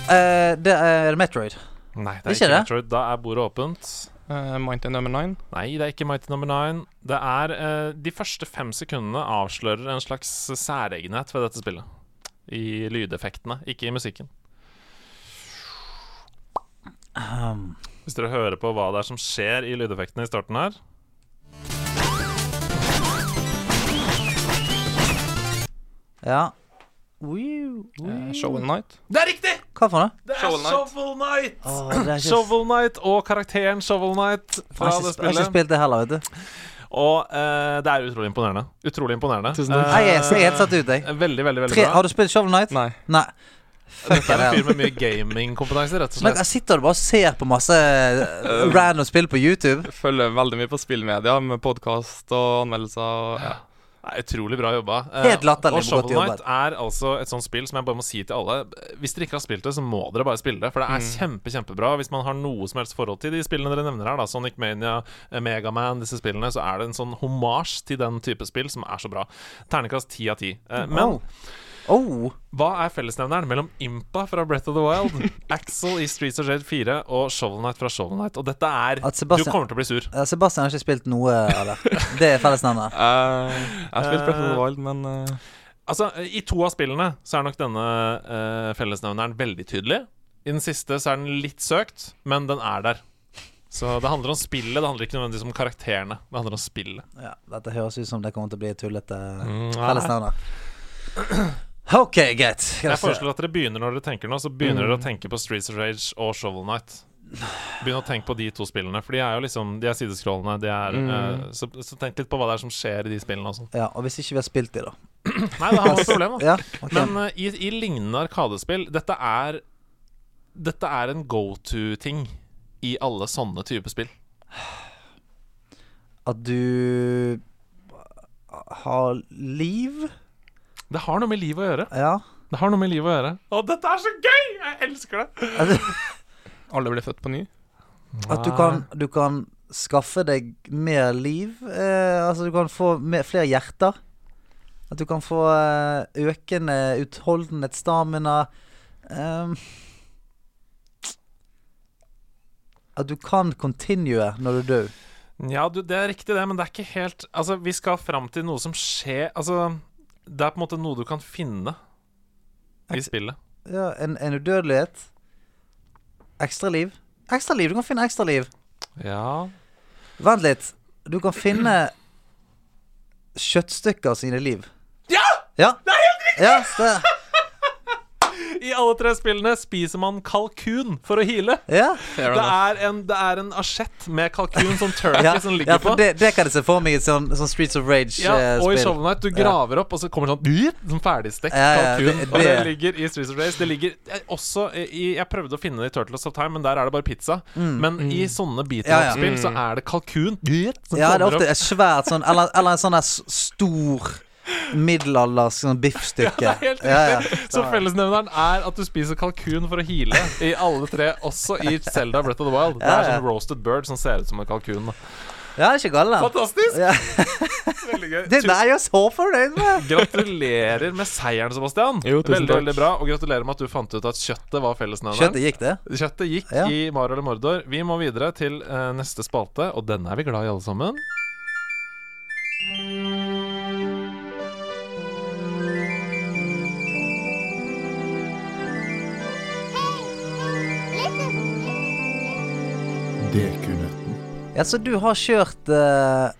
A: Eh, det er Metroid.
B: Nei, det er
A: Ikke
B: ikke
A: det?
B: Metroid. Da er bordet åpent.
C: Uh, Mighty Number 9.
B: Nei, det er ikke Mighty Number Nine. Det er eh, De første fem sekundene avslører en slags særegenhet ved dette spillet. I lydeffektene, ikke i musikken.
A: Um,
B: Hvis dere hører på hva det er som skjer i lydeffektene i starten her
A: ja. Wiu, wiu.
C: eh, Show and Night.
B: Det er riktig!
A: Hva for noe?
B: Det er
C: Shovel Knight.
B: Shovel Knight!
A: Åh, det er ikke-
B: Shovel Knight og karakteren Shovel Knight
A: Jeg
B: fra
A: har ikke,
B: det
A: sp- jeg har ikke
B: spillet.
A: spilt det heller, vet du.
B: Og eh, det er utrolig imponerende. Utrolig imponerende. Eh,
C: Tusen takk.
A: Nei, jeg ser helt satt ut, jeg.
B: Veldig, veldig, veldig
A: Tre,
B: bra.
A: har du spilt Shovel Knight?
C: Nei.
A: Nei. Fuck
B: Dette er en
A: det.
B: fyr med mye gamingkompetanse, rett og
A: Men
B: slett.
A: jeg sitter du bare og ser på masse eh,
B: Eh.
A: random spill på YouTube?
C: Følger veldig mye på spillmedia med podkast og anmeldelser. Og, ja.
B: Nei, utrolig bra jobba. Eh,
A: Helt latterlig
B: og Shovel
A: godt jobbet.
B: Knight er altså et sånt spill som jeg bare må si til alle. Hvis dere ikke har spilt det, så må dere bare spille det. For det
A: Mm.
B: er kjempe, kjempebra. Hvis man har noe som helst forhold til de spillene dere nevner her, da, Sonic Mania, Megaman, disse spillene, så er det en sånn homasj til den type spill som er så bra. Ternekast ti av ti. Eh, Men
A: Wow. Oh.
B: hva er fellesnevneren mellom Impa fra Breath of the
A: <laughs>
B: Wild, Axel i Streets of Jade 4 og Shovel Knight fra Shovel Knight? Og dette er
A: At Sebastian-
B: Du kommer til å bli sur.
A: Eh, Sebastian har ikke spilt noe av det. Det
B: <laughs>
A: er fellesnevnet.
C: Eh, jeg har spilt Breath of the Wild, men eh,
B: Altså, I to av spillene så er nok denne eh, fellesnevneren veldig tydelig. I den siste så er den litt søkt, men den er der. Så det handler om spillet, det handler ikke nødvendigvis om karakterene. Det handler om spillet.
A: Ja, dette høres ut som det kommer til å bli et tullete
B: Mm, nei.
A: fellesnevner. <clears throat> OK, greit. Skal
B: Jeg
A: vi se.
B: foreslår at dere begynner når dere tenker nå, så begynner dere å tenke på Streets of Rage og Shovel Knight. Begynn å tenke på de to spillene, for de er jo liksom De er sideskrollene. De er, eh, så, så tenk litt på hva det er som skjer i de spillene også.
A: Ja, og hvis ikke vi har spilt de, da?
B: Nei, det er jo et problem, altså. da.
A: Ja, ok.
B: Men eh, i, i lignende arkadespill Dette er Dette er en go-to-ting I alle sånne type spill
A: At du eh, har liv?
B: Det har noe med liv å gjøre <laughs>
A: Ja.
B: Det har noe med liv å gjøre Og dette er så gøy, jeg elsker det
A: At du,
C: alle blir født på ny.
A: at du, kan, du kan skaffe deg mer liv. Eh, altså, du kan få mer, flere hjerter. At du kan få eh, økende utholdenhet, stamina Ehm, At du kan continue når du dør.
B: Ja, du, det er riktig det, men det er ikke helt Altså, vi skal frem til noe som skjer Altså, det er på en måte noe du kan finne I spillet
A: Ja, en, en udødelighet. Ekstra liv. Ekstra liv! Du kan finne ekstra liv.
B: Ja
A: Vent litt. Du kan finne kjøttstykker sine liv. Ja! Det er helt riktig! Ja, så,
B: I alle tre spillene spiser man kalkun for å hile
A: ja.
C: Fair
B: det
C: enough.
B: er, en, det er en asjett med kalkun <laughs> som turkey
A: ja.
B: som ligger
A: ja
B: på
A: for det, det kan jeg se for meg i et sånn, sånn Streets of eh, Rage-spill.
B: Ja, og i Shovel Knight, du graver opp, og så kommer sånn dyr, Sånn ferdigstekt
A: Ja, ja,
B: kalkun.
A: det-
B: og det
A: det-
B: ligger i Streets of Race. Det ligger eh, også i Jeg prøvde å finne det i Turtles of Time, men der er det bare pizza. Men i
C: Mm.
B: sånne beat
A: Mm. Ja, ja.
B: up-spill så er det kalkun, dyr, som
A: Ja, det er
B: kommer
A: ofte
B: opp.
A: et svært sånn Eller, eller en sånn her s- stor middelalders sånn biffstykke.
B: Det er <laughs> helt
A: Ja, ja.
B: riktig. Så fellesnevneren er at du spiser kalkun for å hile i alle tre, også i Zelda Breath of the Wild. Det er
A: Ja, ja.
B: sånn roasted bird som ser ut som en kalkun. da.
A: Ja, det er ikke galt, da.
B: Fantastisk! <laughs>
A: Ja.
B: Veldig gøy.
A: Det der er jeg så fornøyd med!
B: Gratulerer med seieren, Sebastian.
C: Jo, tusen
B: veldig,
C: takk.
B: veldig bra. Og gratulerer med at du fant ut at kjøttet var fellesnevneren.
A: Kjøttet gikk, det?
B: Kjøttet gikk
A: Ja.
B: i Mario eller Mordor. Vi må videre til eh, neste spalte, og denne er vi glad i alle sammen.
D: Det kunne den.
A: Ja, så du har kjørt eh,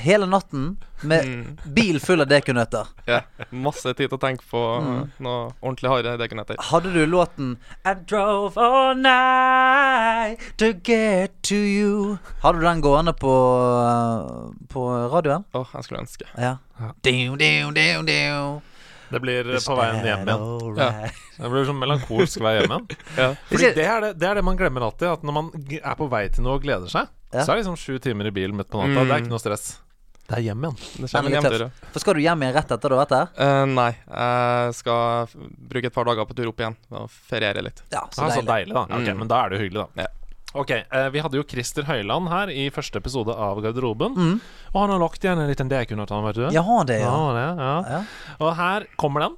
A: hele natten med
B: Mm.
A: bil full av dekonøtter.
C: Ja. Masse tid til å tenke på eh, noe ordentlig harde dekonøtter.
A: Hadde du låten I drove all night to get to you Hadde du den gående på, eh, på radioen?
C: Åh, jeg skulle ønske.
A: Ja. Ding, ding, ding, ding.
B: Det blir eh, på veien hjem igjen.
A: Alright.
B: Det blir sånn melankolsk vei hjem igjen. <laughs>
C: Ja.
B: Fordi
A: Ikke-
B: det er det, det er det man glemmer alltid, at når man g- er på vei til noe og gleder seg,
A: Ja.
B: så er det liksom sju timer i bilen midt på natta. Det er ikke noe stress. Mm. Det er hjem igjen.
C: Det
A: Den er
C: kommer
A: litt
C: hjemtur, ja.
A: tøff. For skal du hjem igjen rett etter da, dette her?
C: Eh, nei, jeg skal f- bruke et par dager på tur opp igjen og feriere litt.
A: Ja,
B: Så
A: så
B: ah, så
A: deilig.
B: deilig, da. Ja, ok,
C: Mm.
B: Men da er det jo hyggelig, da.
C: Ja.
B: Ok, eh, Vi hadde jo Christer Høiland her i første episode av Garderoben. Og han har lagt igjen en liten dek under tanna, vet du.
A: Mm. Ja, det,
B: Ja,
A: ja.
B: det, ja.
A: ja.
B: Og her kommer den.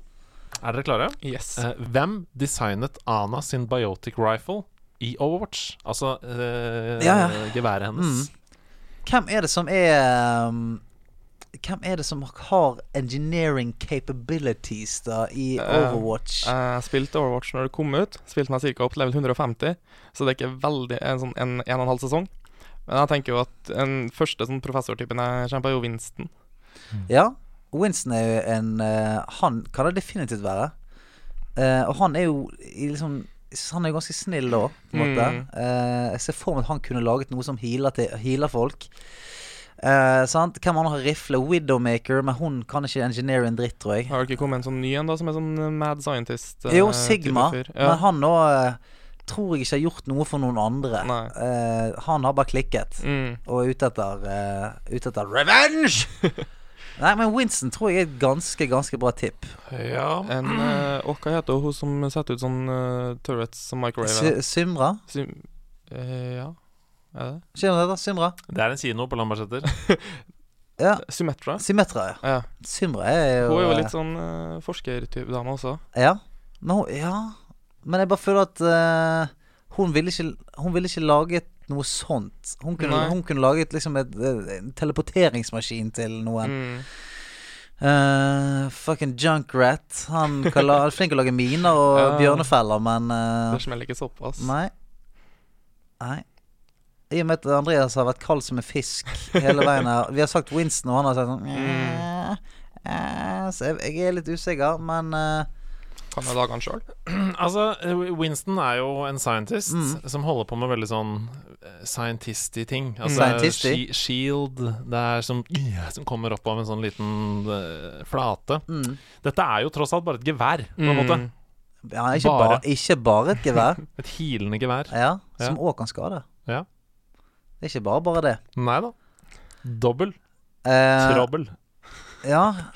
B: Er dere klare?
C: Yes.
B: Eh, hvem designet Ana sin biotic rifle i Overwatch? Altså eh,
A: Ja, ja.
B: geværet hennes.
A: Hvem er det som er um, Hvem er det som har engineering capabilities da i
C: Eh,
A: Overwatch?
C: Jeg Eh, spilte Overwatch når det kom ut. Spilte meg ca. opp til level 150, så det er ikke veldig en, sånn, en, en og en halv sesong. Men jeg tenker jo at den første sånn professortypen jeg kjempa, er jo Winston.
A: Ja, Winston er jo en eh, Han kan det definitivt være. Eh, og han er jo i liksom Han er jo ganske snill da, på en måte.
C: Mm.
A: Eh, jeg ser for meg at han kunne laget noe som healer, til, healer folk. Eh, sant? Hvem andre har rifle? Widowmaker, men hun kan ikke engineere en dritt, tror jeg.
C: Har det ikke kommet en sånn ny en, da, som er sånn eh, mad scientist? eh,
A: Jo,
C: type
A: Sigma.
C: fyr?
A: Men
C: Ja.
A: han òg tror jeg ikke har gjort noe for noen andre.
C: Nei.
A: Eh, han har bare klikket.
C: Mm.
A: Og er ute etter, eh, ute etter
C: <laughs>
A: revenge! Nei, men Winston tror jeg er et ganske, ganske bra tipp.
B: Ja.
C: En eh, Og hva heter hun som setter ut sånn eh, turrets som microwave?
A: Sy Symra?
C: Sym... eh, ja, er det
A: Skjer det da? Symra?
B: Det er en kino på Lambertseter. <clears throat>
A: Ja.
C: det? Symmetra?
A: Symmetra, ja.
C: Ja.
A: Symra er jo
C: Hun er jo litt sånn uh, forskertype dame også.
A: eh, Ja. Men, hun, ja. Men jeg bare føler at eh, hun, ville ikke, hun ville ikke laget noe sånt. Hun kunne,
C: Nei.
A: hun kunne laget liksom et, eh, en teleporteringsmaskin til noen.
C: Mm.
A: Eh, fucking Junkrat. Han kan la, <laughs> er flink til å lage miner og
C: Ja.
A: bjørnefeller, men eh,
C: Det smeller ikke såpass.
A: Nei. Nei. I og med at Andreas har vært kald som en fisk hele veien her. Vi har sagt Winston, og han har sagt sånn
C: Mm.
A: eh, eh, Så jeg, jeg er litt usikker, men eh,
C: Kan jeg lage den sjøl?
B: Altså, eh, Winston er jo en scientist
A: Mm.
B: som holder på med veldig sånn eh, scientisty ting. Altså
A: Scientisty?
B: shi- shield, det er som, som kommer opp av en sånn liten eh, flate.
A: mm.
B: Dette er jo tross alt bare et gevær, på
C: Mm.
B: en måte.
A: ja, ikke,
B: Bare.
A: bare. ikke bare et
B: <laughs>
A: gevær,
B: Et hilende gevær.
A: ja,
B: Ja.
A: som òg kan skade.
B: Ja.
A: Det er ikke bare bare det.
B: Nei da. Dobbel.
A: Eh,
B: Trobbel.
A: ja.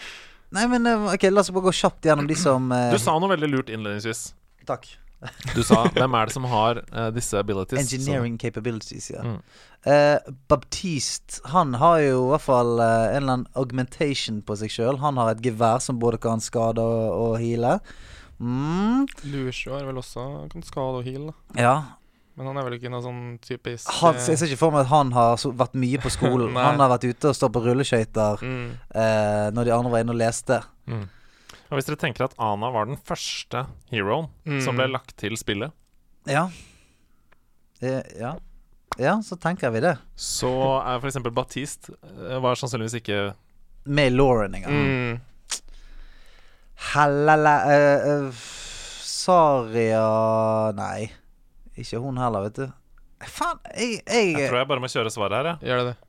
A: Nei, men eh, ok, la oss bare gå kjapt gjennom de som eh,
B: Du sa noe veldig lurt innledningsvis.
A: Takk.
B: Du sa 'Hvem er det som har eh, disse abilities?'
A: Engineering capabilities, ja.
B: Mm.
A: Eh, Baptiste, han har jo i hvert fall eh, en eller annen augmentation på seg sjøl. Han har et gevær som både kan skade og, og heale. Mm.
C: Lursjå er vel også kan skade og heal, da.
A: Ja.
C: Men han er vel ikke noe sånn typisk
A: Han,
C: eh,
A: jeg ser ikke for meg at han har så- vært mye på skolen.
C: <laughs> Nei.
A: han har vært ute og stått på rulleskøyter
C: mm.
A: eh, når de andre var inne og leste.
B: Mm. Og Hvis dere tenker at Ana var den første heroen
C: Mm.
B: som ble lagt til spillet,
A: Ja. Eh, ja. Ja, så tenker vi det.
B: så er f.eks. Batiste eh, var sannsynligvis ikke
A: Med Lauren engang.
C: Mm.
A: Hellele eh, eh, f- Saria Nei, ikke hun heller, vet du. Faen, jeg,
B: Jeg
A: jeg
B: tror jeg bare må kjøre svaret her, jeg.
C: Gjør det det?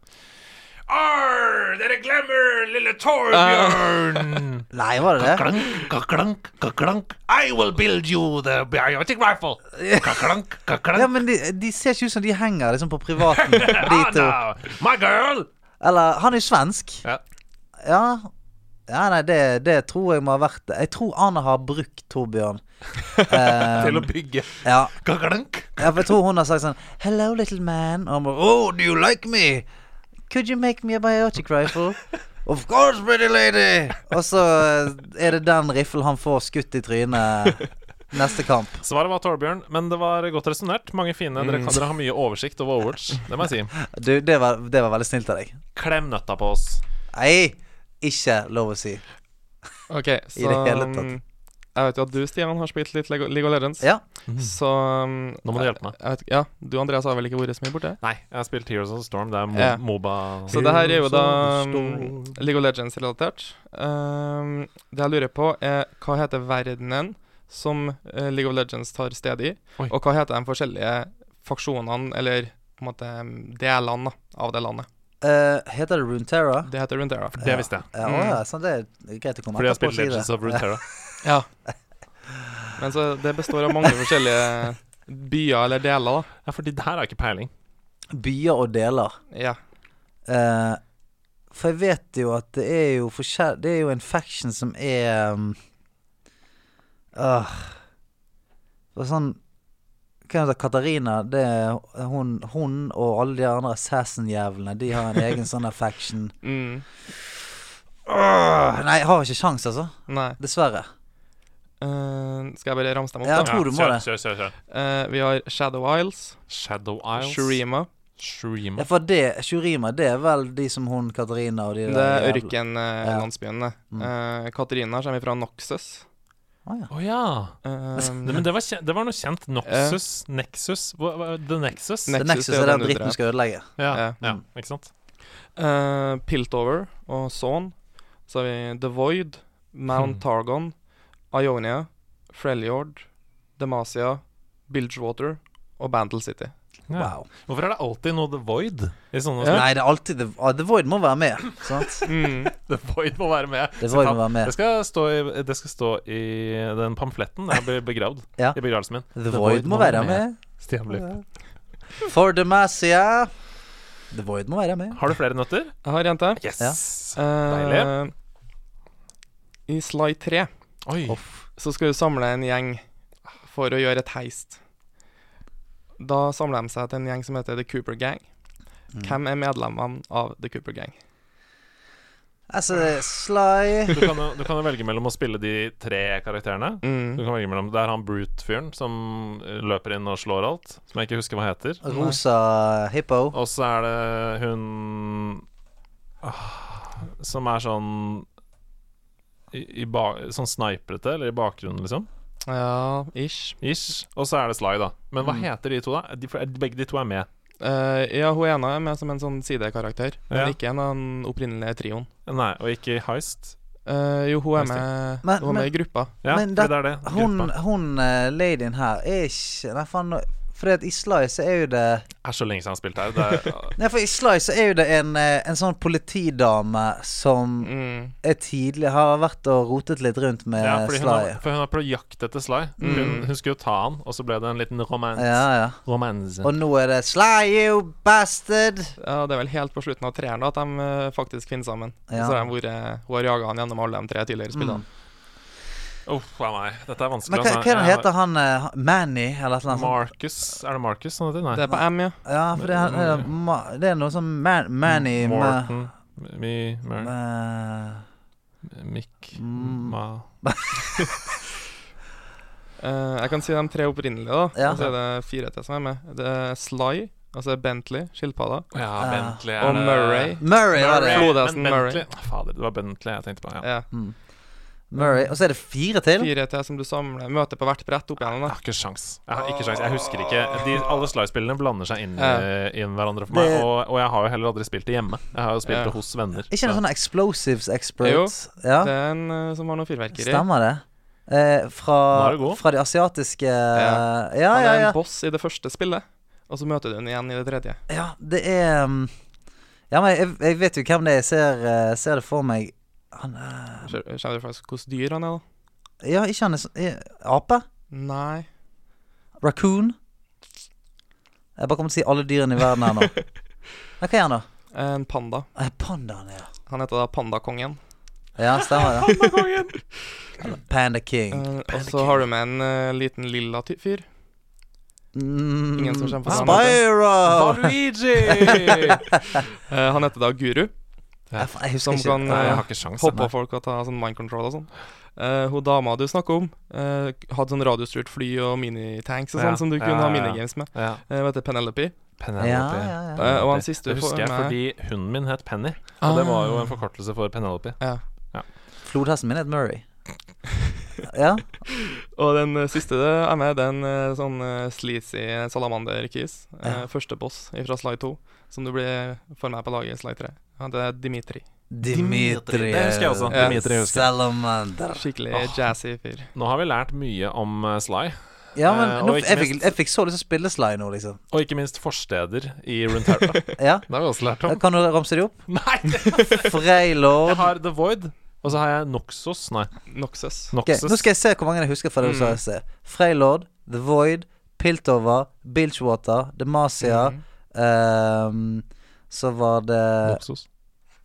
B: Arr, dere glemmer lille Torbjørn!
A: Nei, var det det?
B: Kaklank, kaklank, kaklank. I will build you the biotic Uh, rifle. Kaklank,
A: Ja,
B: kaklank.
A: men de, de ser ikke ut som de henger liksom på
B: <laughs>
A: privaten, de to.
B: Anna, my girl!
A: Eller Han er jo svensk.
B: Ja.
A: Ja. Ja, nei, det, det tror jeg må ha vært det. Jeg tror Anna har brukt
B: <laughs>
A: Torbjørn. Eh,
B: Til å bygge.
A: ja.
B: Kaklank.
A: ja, for jeg tror hun har sagt sånn Hello, little man. Og han bare Oh, do you like me? Could you make me a biotic rifle? of course, pretty lady! Og så eh, er det den riflen han får skutt i trynet neste kamp.
B: Svaret var Torbjørn, men det var godt resonnert. Mange fine. Dere, kan, dere har mye oversikt over Overwatch. Det må jeg si.
A: Du, det var, det var veldig snilt av deg.
B: Klem nøtta på oss.
A: Nei, ikke lov å si.
C: OK, så
A: hele tatt.
C: mm, Jeg vet jo at du, Stian, har spilt litt Lego, Lego Legends.
A: Ja.
C: Så mm,
B: Nå må du hjelpe meg.
C: Jeg vet, ikke- ja, du Andreas har vel ikke vært så mye borte?
B: Nei, jeg har spilt Heroes of the Storm. Det er Mo
C: Ja.
B: Moba
C: Så det her er jo da
B: Heroes of the
C: um,
B: Storm.
C: League of Legends-relatert. Um, det jeg lurer på, er hva heter verdenen som eh, League of Legends tar sted i?
B: Oi.
C: Og hva heter de forskjellige faksjonene, eller på en måte um, delene da, av det landet?
A: Eh, heter det Runeterra?
C: Det heter Runeterra.
B: Det visste jeg.
A: Ja, å, ja, sånn, det er greit å komme
B: Fordi jeg har
A: etterpå
B: spilt
A: og si det.
B: Legends of Runeterra.
C: Ja. Men så det består av mange forskjellige byer eller deler, da.
B: Ja, fordi det her har jeg ikke peiling.
A: Byer og deler.
C: Ja.
A: Eh, for jeg vet jo at det er jo forskjell... Det er jo en faction som er um, ah, det var sånn Hva heter det? Katarina? Det er hun, hun og alle de andre assassin-jævlene. De har en egen sånn her faction.
C: Mm.
A: Åh, nei, jeg har ikke sjans, altså.
C: Nei.
A: Dessverre.
C: Eh, skal jeg bare ramse dem opp,
A: Ja.
C: da?
A: Jeg tror du må
B: kjør,
A: det.
B: Kjør, kjør, kjør.
C: Eh, vi har Shadow Isles,
B: Shadow Isles.
C: Shurima.
B: Shurima.
A: Ja, for det, Shurima, det er vel de som hun Katarina og de
C: Det er
A: jævla- Ja.
C: ørkenlandsbyen, det. Eh, Katarina kommer fra Noxus.
A: Å, ja.
B: Å ja.
C: Um,
B: Nei, Men det var, kje- det var noe kjent. Noxus.
A: Eh.
B: Nexus. Hva- hva- The Nexus.
C: Nexus,
A: The Nexus
C: det er
A: er den
C: den du
A: dritten
C: dreper.
A: skal ødelegge.
B: Ja,
C: Ja.
A: Mm.
B: ja, ikke sant?
C: eh, Piltover og Son. Så har vi The Void, Mount
B: Hmm.
C: Targon, Ionia, Freljord, Demacia, Bilgewater og Bandle City.
B: Ja.
A: Wow.
B: Hvorfor er det alltid noe The Void i sånne
A: Nei, det er alltid The, ah, the Void må være med, <laughs> sant?
B: <laughs>
C: Mm.
B: The Void må være med. <laughs>
A: The Void må
B: Sitat.
A: være med.
B: Det skal stå i, det skal stå i den pamfletten da jeg blir begravd.
A: <laughs> Ja.
B: I begravelsen min.
A: The Void må være med.
B: Stian Blipp.
A: For Demacia. The Void må være med.
B: Har du flere nøtter?
C: Jeg har en til.
B: Yes!
A: Ja.
B: Deilig.
C: Eh, I Sly 3
B: Oi.
C: så skal du samle en gjeng for å gjøre et heist. Da samler de seg til en gjeng som heter The Cooper Gang.
A: Mm.
C: Hvem er medlemmene av The Cooper Gang?
A: Altså,
B: <laughs>
A: Sly
B: Du, kan jo, du kan jo velge mellom å spille de tre karakterene. Du kan velge mellom Det er han brute-fyren som eh, løper inn og slår alt, som jeg ikke husker hva heter.
A: Rosa Hippo.
B: Og så er det hun ah, som er sånn i, i ba, Sånn sniprete, eller i bakgrunnen, liksom.
C: Ja, ish.
B: Ish. Og så er det Sly, da. Men
A: Mm.
B: hva heter de to, da? De, for begge de to er med.
C: Eh, ja, hun ene er med som en sånn sidekarakter, men
B: Ja.
C: ikke en av den opprinnelige trioen.
B: Nei, og ikke i Heist.
C: Eh, jo, hun er med,
A: Men-
C: hun er med i gruppa.
B: Ja,
A: Men
B: for
A: det-
B: det er det.
A: Hun,
B: Gruppa.
A: hun eh, ladyen her er ikke Nei, faen. nå- Fordi at i Sly så er jo det
B: Det er så lenge siden jeg har spilt her.
A: <laughs>
B: Det er,
A: Nei, for i Sly så er jo det en, eh, en sånn politidame som
C: Mm.
A: er tidlig Har vært og rotet litt rundt med
B: ja, fordi hun
A: Sly. Mm.
B: har, for hun har på jakt etter Sly. Hun, hun skulle jo ta han, og så ble det en liten romance.
A: Ja, ja.
B: Romance.
A: Og nå er det Sly, you bastard!
C: Ja, det er vel helt på slutten av treeren da at de eh, faktisk finner sammen.
A: Ja.
C: Så har de vært, hun har jaga han gjennom alle de tre tidligere spillene.
B: Uff a meg, dette er vanskelig.
A: Mm. Men hva,
B: altså.
A: hva er det
B: Jeg-
A: heter han eh, Manny, eller et eller annet? sånt?
B: Marcus Er det Marcus han heter? Nei.
C: Det er på M, ja.
A: Ja, for det, er- er, det Ma- det er noe som man, Manny Ma-
B: Morten Mi... Mer,
A: Ma-
B: Mick Ma...
C: Eh, jeg kan si de tre opprinnelige, da.
A: Ja.
C: Og så er det fire til som er med. Det er Sly, altså Bentley, skilpadda,
B: Ja, Bentley er
C: og
B: det-
C: Murray.
B: Murray,
A: Murray var det.
C: Murray.
B: men
C: Flodhesten Murray.
B: Bentley- Fader, det var Bentley jeg tenkte på. Ja.
C: Ja.
A: Mm. Murray. Og så er det fire til.
C: Fire til som du samler møter på hvert brett opp igjennom.
B: Jeg
C: da
B: har ikke sjans. Jeg har ikke sjans. Jeg husker ikke De, Alle Sly-spillene blander seg inn
C: Ja.
B: i inn hverandre for
A: Det-
B: meg. Og, og jeg har jo heller aldri spilt det hjemme. Jeg har jo spilt
C: Ja.
B: det hos venner.
A: Ikke en
B: Så-
A: sånn explosives
C: Jo,
A: expert? Ja,
C: Det er en eh, som har noe fyrverkeri.
A: stemmer det. Eh,
B: Nå
A: fra,
B: er du god.
A: fra de asiatiske Ja,
C: Ja. Han
A: ja,
C: er
A: ja.
C: en boss i det første spillet, og så møter du han igjen i det tredje.
A: ja det er um, Ja, men jeg, jeg vet jo hvem det er. Jeg ser, eh, ser det for meg. Han er
C: Skjø- Skjønner du faktisk hvordan dyr han er, da?
A: Ja, ikke han er sånn eh, Ape?
C: Nei.
A: Raccoon? Jeg bare kommer til å si alle dyrene i verden
C: <laughs>
A: her nå. Ja, Hva er han, da?
C: En panda.
A: Eh, Pandaen, ja.
C: Han heter da Pandakongen.
A: Ja, stemmer det. Panda
C: Eh,
A: King.
C: og så har du med en eh, liten lilla
A: <laughs>
C: ty fyr.
A: Mm,
C: Ingen som kjemper sammen.
A: Spyro!
B: Luigi!
C: Eh, han heter da Guru,
A: Jeg, jeg husker
C: som
A: ikke.
C: kan
B: <laughs> Nei, jeg
C: eh,
B: har ikke sjans.
C: hoppe på folk og ta sånn mind control og sånn. Eh, hun dama du snakker om, eh, hadde sånn radiostyrt fly og minitanks og sånn
B: Ja.
C: som du
B: Ja,
C: kunne
B: ja,
C: ha
B: ja.
C: minigames med.
B: Ja.
C: Eh, Hun heter Penelope.
B: Penelope.
A: Ja, ja, ja.
C: Eh, og han siste Ah.
B: det
C: du
B: husker
C: får
B: jeg
C: med
B: fordi hunden min het Penny, og det var jo en forkortelse for Penelope.
C: ja.
A: Flodhesten min het Murray. Ja.
C: Og den eh, siste du er med, det er en eh, sånn eh, sleazy salamander-kis. Eh,
A: Ja.
C: Første boss fra Slide 2, som du blir får med på laget i Slide 3. Han heter Dimitri.
A: Dimitri.
B: Det husker jeg også.
A: eh,
B: Dimitri husker jeg.
A: Salamander.
C: Skikkelig
B: Ah.
C: jazzy fyr.
B: Nå har vi lært mye om eh, Sly,
A: Ja, men
B: Eh, og
A: nå,
B: ikke
A: jeg, fikk,
B: minst-
A: jeg fikk så lyst til å spille Sly nå, liksom.
B: og ikke minst forsteder i
C: <laughs>
B: Runeterra. det
A: Ja.
B: har vi også lært om.
A: Kan du ramse de opp?
B: Nei! Jeg
A: Freylord.
B: har The Void, og så har jeg Noxos. Nei,
C: Noxus.
A: Ok,
B: Noxus.
A: Nå skal jeg se hvor mange jeg husker fra det du sa i sted. Freylord, The Void, Piltover, Bilgewater, Demacia ehm, Så var det
B: Noxos.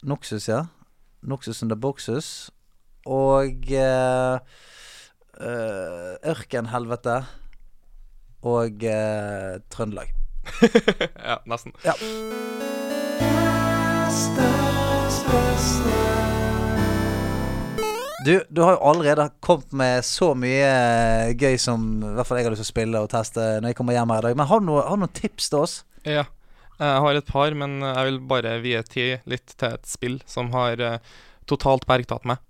A: Noxus, ja. Noxus under Boxus. Og eh, eh, Ørkenhelvete. Og eh, Trøndelag.
C: <laughs> Ja, nesten.
A: Ja. Du, du har jo allerede kommet med så mye eh, gøy som i hvert fall jeg har lyst til å spille og teste når jeg kommer hjem her i dag. Men har du noe- har du noen tips til oss?
C: Ja. Jeg har et par, men jeg vil bare vie tid litt til et spill som har eh, totalt bergtatt meg.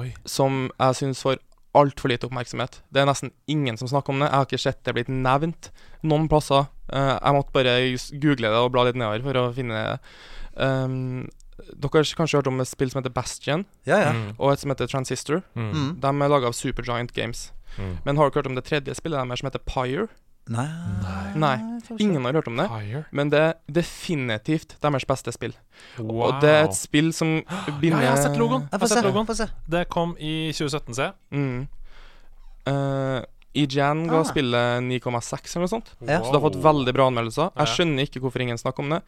B: Oi.
C: Som jeg syns får altfor lite oppmerksomhet. Det er nesten ingen som snakker om det. Jeg har ikke sett det blitt nevnt noen plasser. Eh, jeg måtte bare just google det og bla litt nedover for å finne det. Um, dere har kanskje hørt om et spill som heter Bastion,
A: Ja, ja.
C: og et som heter Transistor.
B: Mm.
A: Mm.
C: De er laga av Supergiant Games.
B: Mm.
C: Men har dere hørt om det tredje spillet deres som heter Pyre?
A: Nei,
C: Nei,
A: jeg tror ikke.
C: ingen har hørt om det.
B: Fire.
C: Men det er definitivt deres beste spill.
B: Wow.
C: Og det er et spill som
B: <gasps> ja,
C: binder
B: jeg har sett logoen! Jeg
A: Ja, Få
B: har
A: se.
B: sett logoen.
A: Få se.
B: Det kom i 2017, ser jeg.
C: Mm. Eh, IGN ga
A: Ah.
C: spillet 9,6 eller noe sånt.
A: Ja.
C: Så det har fått veldig bra anmeldelser. Jeg
B: Ja.
C: skjønner ikke hvorfor ingen snakker om det.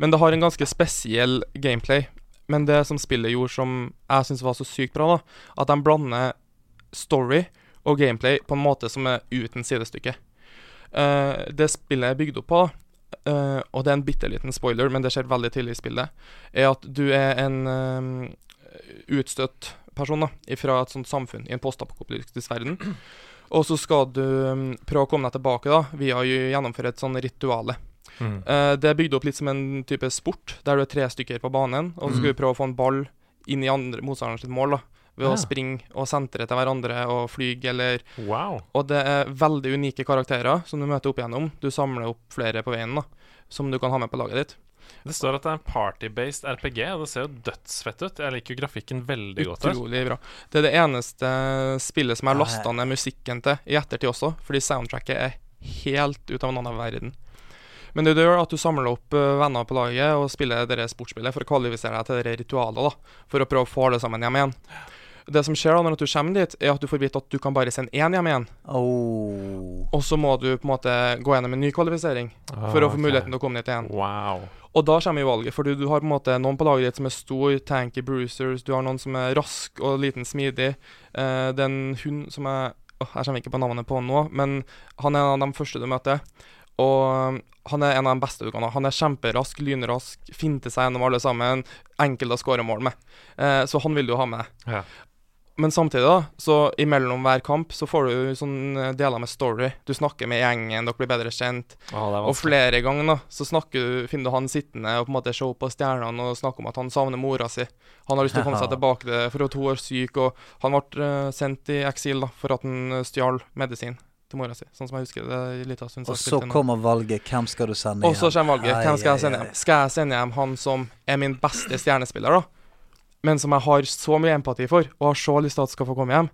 C: Men det har en ganske spesiell gameplay. Men det som spillet gjorde som jeg syns var så sykt bra, da, at de blander story og gameplay på en måte som er uten sidestykke. Eh, det spillet er bygd opp på, eh, og det er en bitte liten spoiler, men det skjer veldig tidlig i spillet, er at du er en eh, utstøtt person da, fra et sånt samfunn i en postapokalyptisk verden. Og så skal du mm, prøve å komme deg tilbake da, via å gjennomføre et sånn rituale.
B: Mm.
C: Eh, det er bygd opp litt som en type sport, der du er tre stykker på banen, og så skal du prøve å få en ball inn i andre, motstanderens sitt mål da, ved
B: Ja.
C: å springe og sentre til hverandre og flyge eller
B: Wow.
C: Og det er veldig unike karakterer som du møter opp igjennom. Du samler opp flere på veien da, som du kan ha med på laget ditt.
B: Det står at det er en party-based RPG, og det ser jo dødsfett ut. Jeg liker jo grafikken veldig godt. her.
C: Utrolig bra. Det er det eneste spillet som jeg
A: Ja,
C: har lasta ned musikken til i ettertid også, fordi soundtracket er helt ut av en annen verden. Men det du gjør, er at du samler opp eh, venner på laget og spiller dette sportsspillet for å kvalifisere deg til dette ritualet, da, for å prøve å få alle sammen hjem igjen. Det som skjer da når du kommer dit, er at du får vite at du kan bare sende én hjem igjen,
A: Åh.
C: og så må du på en måte gå gjennom en ny kvalifisering
B: Ah,
C: for å få
B: ok.
C: muligheten til å komme dit igjen.
B: Wow.
C: Og da kommer jo valget, for du, du har på en måte noen på laget ditt som er stor, tanky bruisers, du har noen som er rask og liten smidig. Eh, det er en hund som er åh, Jeg kommer ikke på navnet på han nå, men han er en av de første du møter. Og eh, han er en av de beste du kan ha. Han er kjemperask, lynrask, finter seg gjennom alle sammen. Enkel å skåre mål med. Eh, så han vil du ha med.
B: Ja.
C: Men samtidig, da, så imellom hver kamp så får du sånne deler med story. Du snakker med gjengen, dere blir bedre kjent.
B: Å, det er
C: Og
B: vanskelig.
C: flere ganger da, så snakker du, finner du han sittende og på en måte show på stjernene og snakker om at han savner mora si. Han har lyst til å komme seg tilbake til det, for at hun er syk, og han ble eh, sendt i eksil da, for at han eh, stjal medisin til mora si, sånn som jeg husker det er litt av stund siden
A: Og
C: jeg
A: så
C: spilte nå.
A: kommer valget. Hvem skal du sende
C: Og så
A: igjen?
C: kommer valget.
A: Ai,
C: Hvem skal jeg
A: ai,
C: sende
A: ai.
C: hjem? Skal jeg sende hjem han som er min beste stjernespiller, da? Men som jeg har så mye empati for, og har så lyst til at skal få komme hjem.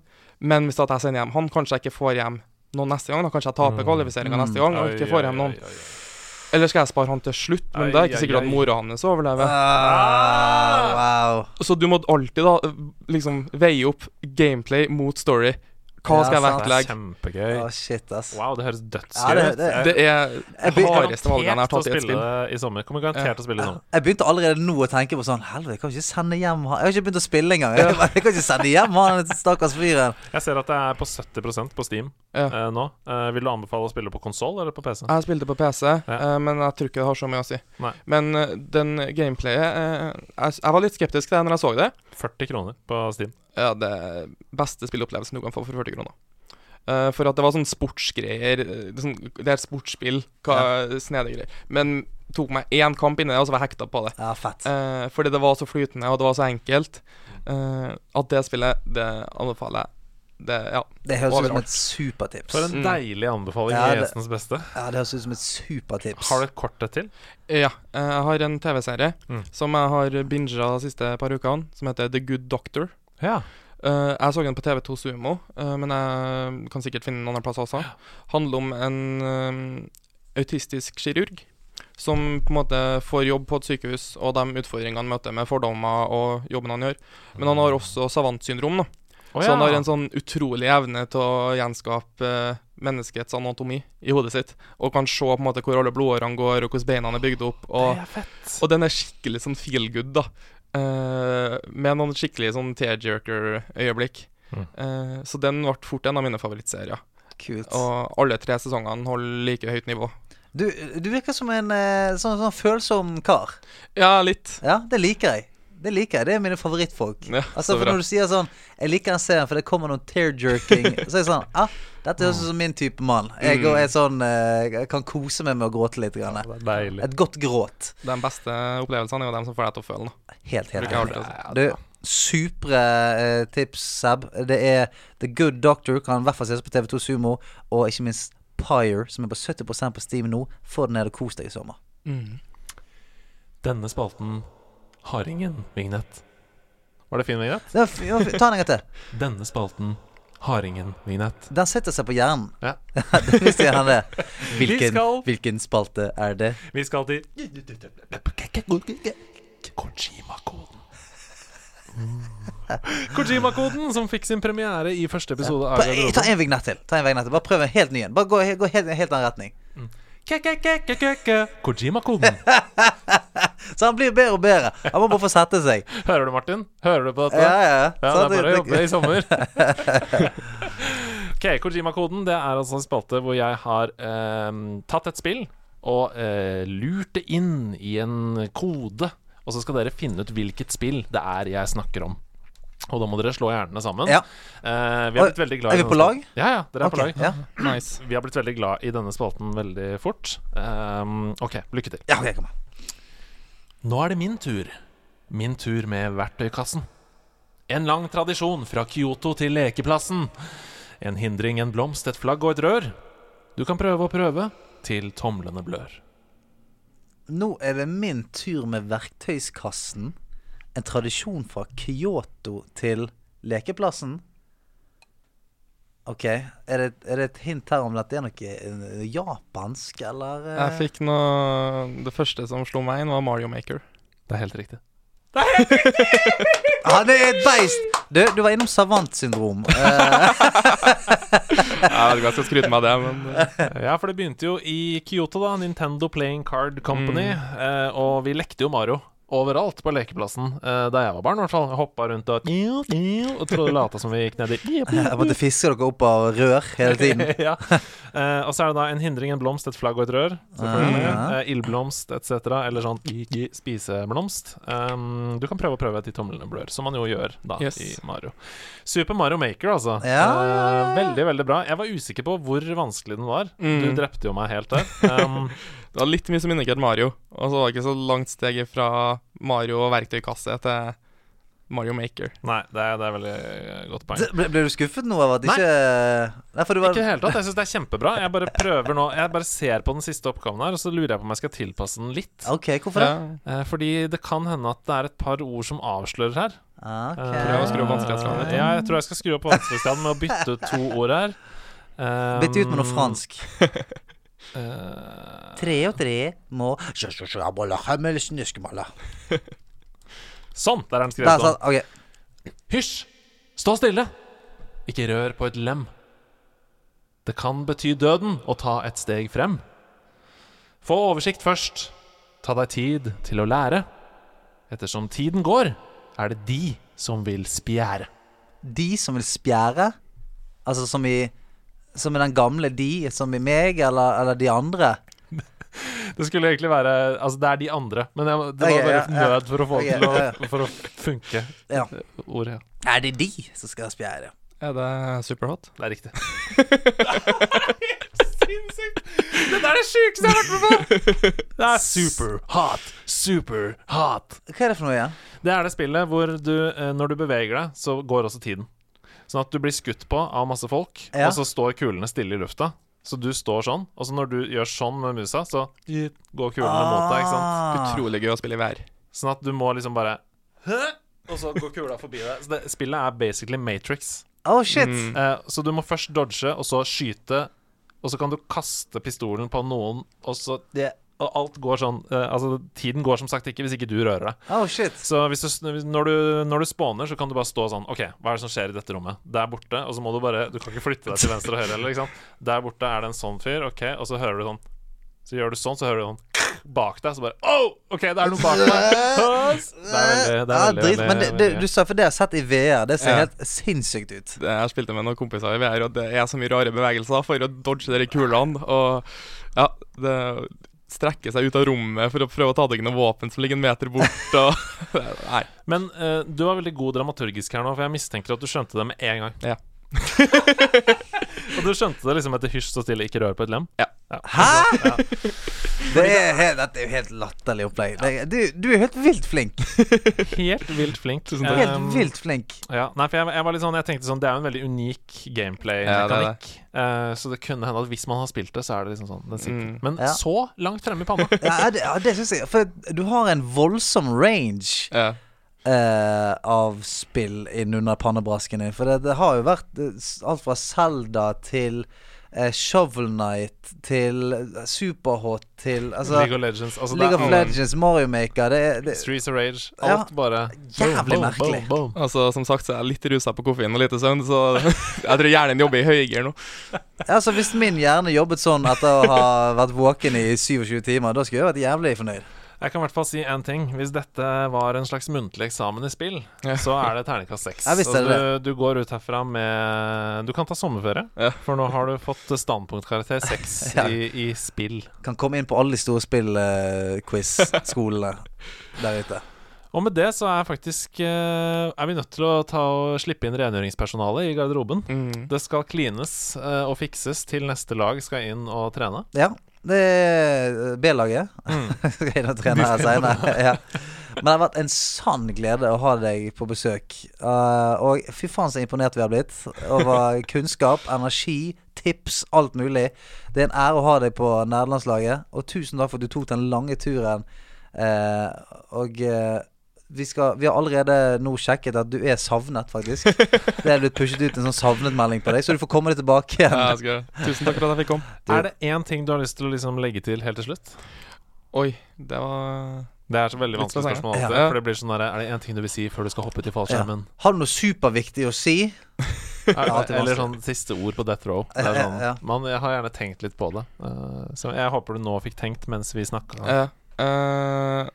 C: Men hvis at jeg sender hjem han, kanskje jeg ikke får hjem noen neste gang. da Kanskje jeg taper kvalifiseringa
A: Mm.
C: neste gang og ikke får hjem noen. Eller skal jeg spare han til slutt, men
B: Ai,
C: det er ikke
B: ai,
C: sikkert
B: ai.
C: at mora hans overlever.
A: Ah, wow.
C: Så du må alltid da liksom veie opp gameplay mot story. Hva
A: Ja,
C: skal
A: sant.
C: jeg
B: Det er
C: vektlegge?
B: kjempegøy.
A: Å, shit, ass.
B: Wow, det høres
A: Ja,
B: dødsgøy
A: det,
B: ut.
A: det,
C: Det er
A: Jeg
C: de
A: blir-
C: hardeste valgene jeg har
B: Garantert å
C: tatt i
B: spille
C: et spill.
B: i sommer. Kommer garantert til å spille i sommer.
A: Jeg begynte allerede nå å tenke på sånn Helvete, jeg kan ikke sende hjem han Jeg har ikke begynt å spille engang. Jeg, <laughs> jeg kan ikke sende hjem han stakkars fyren.
B: Jeg ser at det er på 70 på Steam
C: Ja.
B: eh, nå. Eh, vil du anbefale å spille på konsoll eller på PC?
C: Jeg spilte på PC,
B: Ja.
C: eh, men jeg tror ikke det har så mye å si.
B: Nei.
C: Men eh, den gameplayet eh, jeg, jeg var litt skeptisk til det når jeg så det.
B: 40 kroner på Steam.
C: Ja, det er beste spillopplevelsen du kan få for 40 kroner. Eh, for at det var sånn sportsgreier eh, Det er, sånn, det er et sportsspill, hva, snedige greier. Men tok meg én kamp inni det, og så var jeg hekta på det.
A: Ja, fett.
C: Eh, fordi det var så flytende, og det var så enkelt. eh, at det spillet, det anbefaler jeg. Det, ja.
A: Det høres ut som
C: overalt.
A: et supertips.
B: For en
C: Mm.
B: deilig anbefaling.
A: Ja,
B: i
A: det-
B: Jesens beste.
A: Ja, det høres ut som et supertips.
B: Har du et kort et til?
C: Ja. eh, Jeg har en TV-serie
B: Mm.
C: som jeg har binga de siste par ukene, som heter The Good Doctor.
B: Ja.
C: Eh, jeg så den på TV2 Sumo, eh, men jeg kan sikkert finne den andre plasser også. Handler om en eh, autistisk kirurg som på en måte får jobb på et sykehus, og de utfordringene han møter med fordommer og jobben han gjør. Men han har også savantsyndrom, da.
B: Å,
C: Så han
B: ja.
C: har en sånn utrolig evne til å gjenskape eh, menneskets anatomi i hodet sitt. Og kan se på en måte hvor alle blodårene går, og hvordan beina er bygd opp. Og
B: Det er fett.
C: og den er skikkelig sånn feel good, da. Eh, med noen skikkelig sånn tearjerker-øyeblikk.
B: Mm.
C: Eh, så den ble fort en av mine favorittserier.
A: Kult.
C: Og alle tre sesongene holder like høyt nivå.
A: Du, du virker som en eh, sånn, sånn følsom kar.
C: Ja, litt.
A: Ja, det liker jeg. Det liker jeg. Det er mine favorittfolk.
C: Ja,
A: altså,
C: så
A: for
C: bra.
A: når du sier sånn 'Jeg liker den serien, for det kommer noen
B: <laughs>
A: tear-jerking', så er jeg sånn Ja, dette høres ut som min type mann.
B: Mm.
A: Jeg og er sånn eh, kan kose meg med å gråte litt. Grann.
B: Det er deilig.
A: Et godt gråt.
C: De beste opplevelsene er jo dem som får deg til å føle noe.
A: Helt, helt
C: Bruker jeg
A: enig.
C: alltid å
B: altså.
C: si.
A: Du, supre eh, tips, Seb. Det er The Good Doctor, kan i hvert fall ses på TV2 Sumo, og ikke minst Pyre, som er på 70 på Steam nå. Få den ned og kos deg i sommer.
B: Denne spalten har ingen vignett. Var det fin vignett?
A: Det var, f- det var, f- ta den en gang til.
B: Denne spalten hardingen Minette.
A: Den setter seg på hjernen. <laughs>
B: Ja.
A: Det visste jeg han det.
B: Vi
A: Hvilken,
B: skal-
A: hvilken spalte er det?
B: Vi skal til Kojima-koden. Mm. Kojima-koden, som fikk sin premiere i første episode av
A: Bare, ta
B: Garderoben.
A: en vignett til. Ta en vignett til. Bare prøv en helt ny en. Bare gå, gå helt, helt annen retning.
B: Ke-ke-ke-ke-ke-ke.
A: <laughs>
B: Kojima-koden.
A: Så han blir bedre og bedre. Han må bare få sette seg.
B: Hører du, Martin? Hører du på dette?
A: Ja, ja, Sånn ja.
B: Ja,
A: Sant?
B: det er bare å jobbe i
A: <laughs>
B: sommer. ok, Kojima-koden det er altså en spalte hvor jeg har ehm, tatt et spill og eh, lurt det inn i en kode. Og så skal dere finne ut hvilket spill det er jeg snakker om. Og da må dere slå hjernene sammen.
A: Ja.
B: Eh, vi har
A: Og-
B: blitt veldig glad
A: er
B: i
A: vi
B: denne
A: på lag?
B: spalten. Ja, ja, dere er
A: Ok,
B: på lag.
A: ja.
C: Nice.
B: Vi har blitt veldig glad i denne spalten veldig fort. Ehm, ok, lykke til.
A: Ja, ok, kom her.
B: Nå er det min tur. Min tur med verktøykassen. En lang tradisjon fra Kyoto til lekeplassen. En hindring, en blomst, et flagg og et rør. Du kan prøve og prøve til tomlene blør.
A: Nå er det min tur med verktøyskassen. En tradisjon fra Kyoto til lekeplassen. OK. Er det, er det et hint her om at det er noe eh, japansk, eller eh?
C: Jeg fikk noe Det første som slo meg inn, var Mario Maker.
B: Det er helt riktig.
A: Ja, Ah, det er et beist! Du, du var innom savantsyndrom. Eh,
C: Jeg vet ikke om jeg skal skryte meg av det, men eh,
B: Ja, for det begynte jo i Kyoto, da. Nintendo Playing Card Company. Eh, og vi lekte jo Mario overalt på lekeplassen eh, da jeg var barn, i hvert fall. Jeg Hoppa rundt og Og trodde lata som vi gikk ned i
A: jeg måtte fiske dere opp av rør hele tiden.
B: <laughs>
C: <laughs>
B: ja. Eh, og så er det da en hindring, en blomst, et flagg og et rør. Selvfølgelig.
A: Ah.
B: Eh, ildblomst etc. Eller sånn i- i- spiseblomst. Um, du kan prøve å prøve til tomlene blør, som man jo gjør da
C: Yes.
B: i Mario. Super Mario Maker, altså.
A: Ja,
B: Eh, veldig, veldig bra. Jeg var usikker på hvor vanskelig den var. Du drepte jo meg helt der. Um,
C: det var litt mye som minner ikke et Mario. Og så var det ikke så langt steg fra Mario og verktøykasse til Mario Maker.
B: <laughs> nei, det er, det er veldig eh, godt poeng.
A: D- Ble, ble du skuffet nå over at
B: Nei.
A: ikke eh, Nei, for du var
B: Ikke i det hele tatt. Jeg syns det er kjempebra. Jeg bare prøver nå Jeg bare ser på den siste oppgaven her, og så lurer jeg på om jeg skal tilpasse den litt.
A: OK, hvorfor det?
B: Eh, fordi det kan hende at det er et par ord som avslører her.
A: Ah, ok.
B: Eh,
C: Prøv å skru opp vanskelighetsgraden litt, da.
B: Ja, jeg tror jeg skal skru opp vanskelighetsgraden med å bytte ut to ord her. Um,
A: <laughs> Bytt ut med noe fransk.
B: <laughs> eh,
A: Tre og tre må Der,
B: sånn, der er den skrevet
A: sånn.
B: sånn.
A: OK. altså-
B: Hysj! Stå stille! Ikke rør på et lem. Det kan bety døden å ta et steg frem. Få oversikt først. Ta deg tid til å lære. Ettersom tiden går, er det de som vil spjære.
A: De som vil spjære, altså som i Som i den gamle de, som i meg, eller, eller de andre.
B: Det skulle egentlig være Altså, det er de andre, men jeg, det
A: Ok,
B: var bare
A: ja, ja.
B: nød for å få
A: Ok,
B: til å,
A: ja,
B: for å funke.
A: Ja.
B: Ordet, ja.
A: Er det de som skal spjære?
C: Er det superhot?
B: Det <laughs> er riktig. Sinnssykt! Dette er det sjukeste jeg har vært med på! Det er super hot, super hot.
A: Hva er det for noe igjen?
B: Det er det spillet hvor du, eh, når du beveger deg, så går også tiden. Sånn at du blir skutt på av masse folk,
A: Ja.
B: og så står kulene stille i lufta. Så du står sånn, og så når du gjør sånn med musa, så går kulene mot deg, ikke sant?
A: Ah.
C: Utrolig gøy å spille i VR.
B: Sånn at du må liksom bare Hæ? Og så går kula forbi deg. Så det, spillet er basically Matrix.
A: Oh, shit.
B: Eh, så du må først dodge, og så skyte, og så kan du kaste pistolen på noen, og så
A: Det-
B: Og alt går sånn eh, Altså, tiden går som sagt ikke hvis ikke du rører deg.
A: Oh, shit.
B: Så hvis du, s- hvis- når, du, når du spawner, så kan du bare stå sånn OK, hva er det som skjer i dette rommet? Der borte, og så må du bare Du kan ikke flytte deg til venstre og høyre heller, ikke sant? Der borte er det en sånn fyr, OK, og så hører du sånn Så gjør du sånn, så hører du sånn bak deg, så bare Oh, OK, <laughs> det er noen bak
A: <laughs>
B: meg! Det er veldig, det er
A: Ja,
B: veldig,
A: Ah, drit,
B: veldig,
A: men det,
B: veldig-
A: det, du sa for det jeg har sett i VR, det ser
C: Ja.
A: helt sinnssykt ut.
C: Det- Jeg spilte med noen kompiser i VR, og det er så mye rare bevegelser for å dodge de kulene. Og ja, det strekker seg ut av rommet for å prøve å ta tak i noen våpen som ligger en meter bort. Og <laughs> Nei.
B: Men eh, du var veldig god dramaturgisk her nå, for jeg mistenker at du skjønte det med en gang.
C: Ja.
B: <laughs> Og du skjønte det liksom etter hysj så stille, ikke rør på et lem?
C: Ja.
A: Hæ?! <laughs> Det er helt, dette er jo helt latterlig opplegg. Det- Du, du er helt vilt flink.
B: Helt vilt flink. Tusen
C: takk.
A: Helt vilt flink.
B: Ja, nei, for jeg, jeg var litt sånn Jeg tenkte sånn Det er jo en veldig unik
C: Ja, det er
B: gameplay-mekanikk. Eh, så det kunne hende at hvis man har spilt det, så er det liksom sånn. Den sitter.
C: Mm.
B: Men
A: Ja. Altså,
B: så langt fremme i panna.
A: Ja, det, ja, det syns jeg. For du har en voldsom range.
C: Ja.
A: eh, av spill innunder pannebrasken din. For det, det har jo vært eh, s- alt fra Selda til eh, Shovel Knight til eh, Superhot til altså,
B: League of Legends. Altså,
A: League
B: det
A: of
B: er alt.
A: Legends, Mario Maker det, er- det,
B: Streets of Rage.
A: Ja.
B: Alt bare
A: Jævlig merkelig.
B: boom.
C: Altså, som sagt så er jeg litt rusa på koffein og lite søvn, så <laughs> jeg tror hjernen jobber i høygir nå.
A: Altså Hvis min hjerne jobbet sånn etter å ha vært våken i 27 timer, da skulle jeg vært jævlig fornøyd.
B: Jeg kan i hvert fall si én ting. Hvis dette var en slags muntlig eksamen i spill,
C: Ja.
B: så er det terningkast seks.
A: Ja, visst er det
B: du, du går ut herfra med Du kan ta sommerferie,
C: Ja.
B: for nå har du fått standpunktkarakter seks
A: Ja.
B: i, i spill.
A: Kan komme inn på alle de store spill-quiz-skolene der ute.
B: Og med det så er faktisk eh, Er vi nødt til å ta og slippe inn rengjøringspersonalet i garderoben.
C: Mm.
B: Det skal klines eh, og fikses til neste lag skal inn og trene.
A: Ja, det er B-laget. <laughs> Skal inn og trene her seinere. <laughs> Ja. Men det har vært en sann glede å ha deg på besøk. Eh, og fy faen så imponert vi har blitt over kunnskap, energi, tips, alt mulig. Det er en ære å ha deg på nerdelandslaget, og tusen takk for at du tok den lange turen. Eh, og eh, vi, skal, vi har allerede nå sjekket at du er savnet, faktisk. Det er blitt pushet ut en sånn savnet-melding på deg, så du får komme deg tilbake igjen.
C: Ja, jeg skal. Tusen takk for at jeg fikk komme.
B: Er det én ting du har lyst til å liksom legge til helt til slutt?
C: Oi, det var
B: Det er så veldig
C: Litt
B: vanskelig
C: spesielt.
B: spørsmål alltid.
C: Ja.
B: For det blir sånn der, Er det én ting du vil si før du skal hoppe ut i fallskjermen?
A: Har du noe superviktig å si?
B: Er-
A: alltid
B: <laughs> Eller sånn
A: vanskelig.
B: siste ord på death row. Det er
A: Ja,
B: sånn,
A: ja.
B: man, jeg har gjerne tenkt litt på det. Eh, så jeg håper du nå fikk tenkt mens vi snakka.
C: Ja. Eh,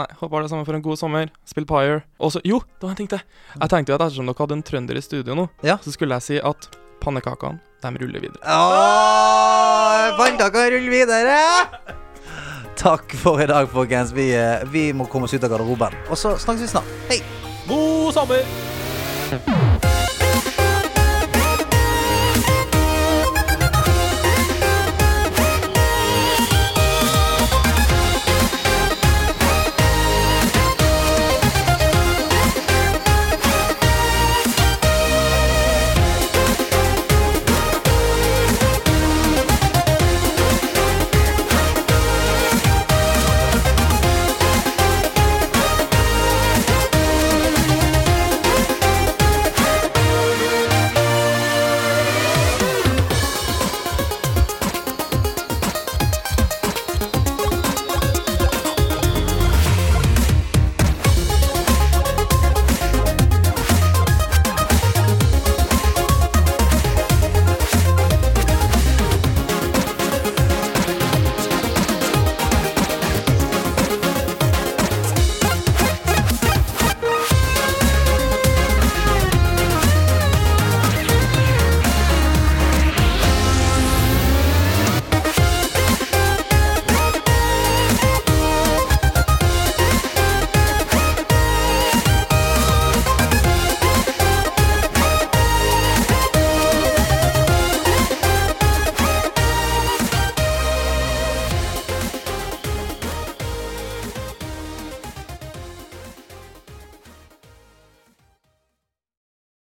C: nei, håper alle sammen får en god sommer. Spill Pyre. Og så Jo, det var en ting til! Jeg tenkte jo at ettersom dere hadde en trønder i studio nå,
A: Ja.
C: så skulle jeg si at pannekakene, de ruller videre.
A: Åh, Vanndaka ruller videre! Takk for i dag, folkens. Vi, eh, vi må komme oss ut av garderoben. Og så snakkes vi snart. Hei!
B: God sommer!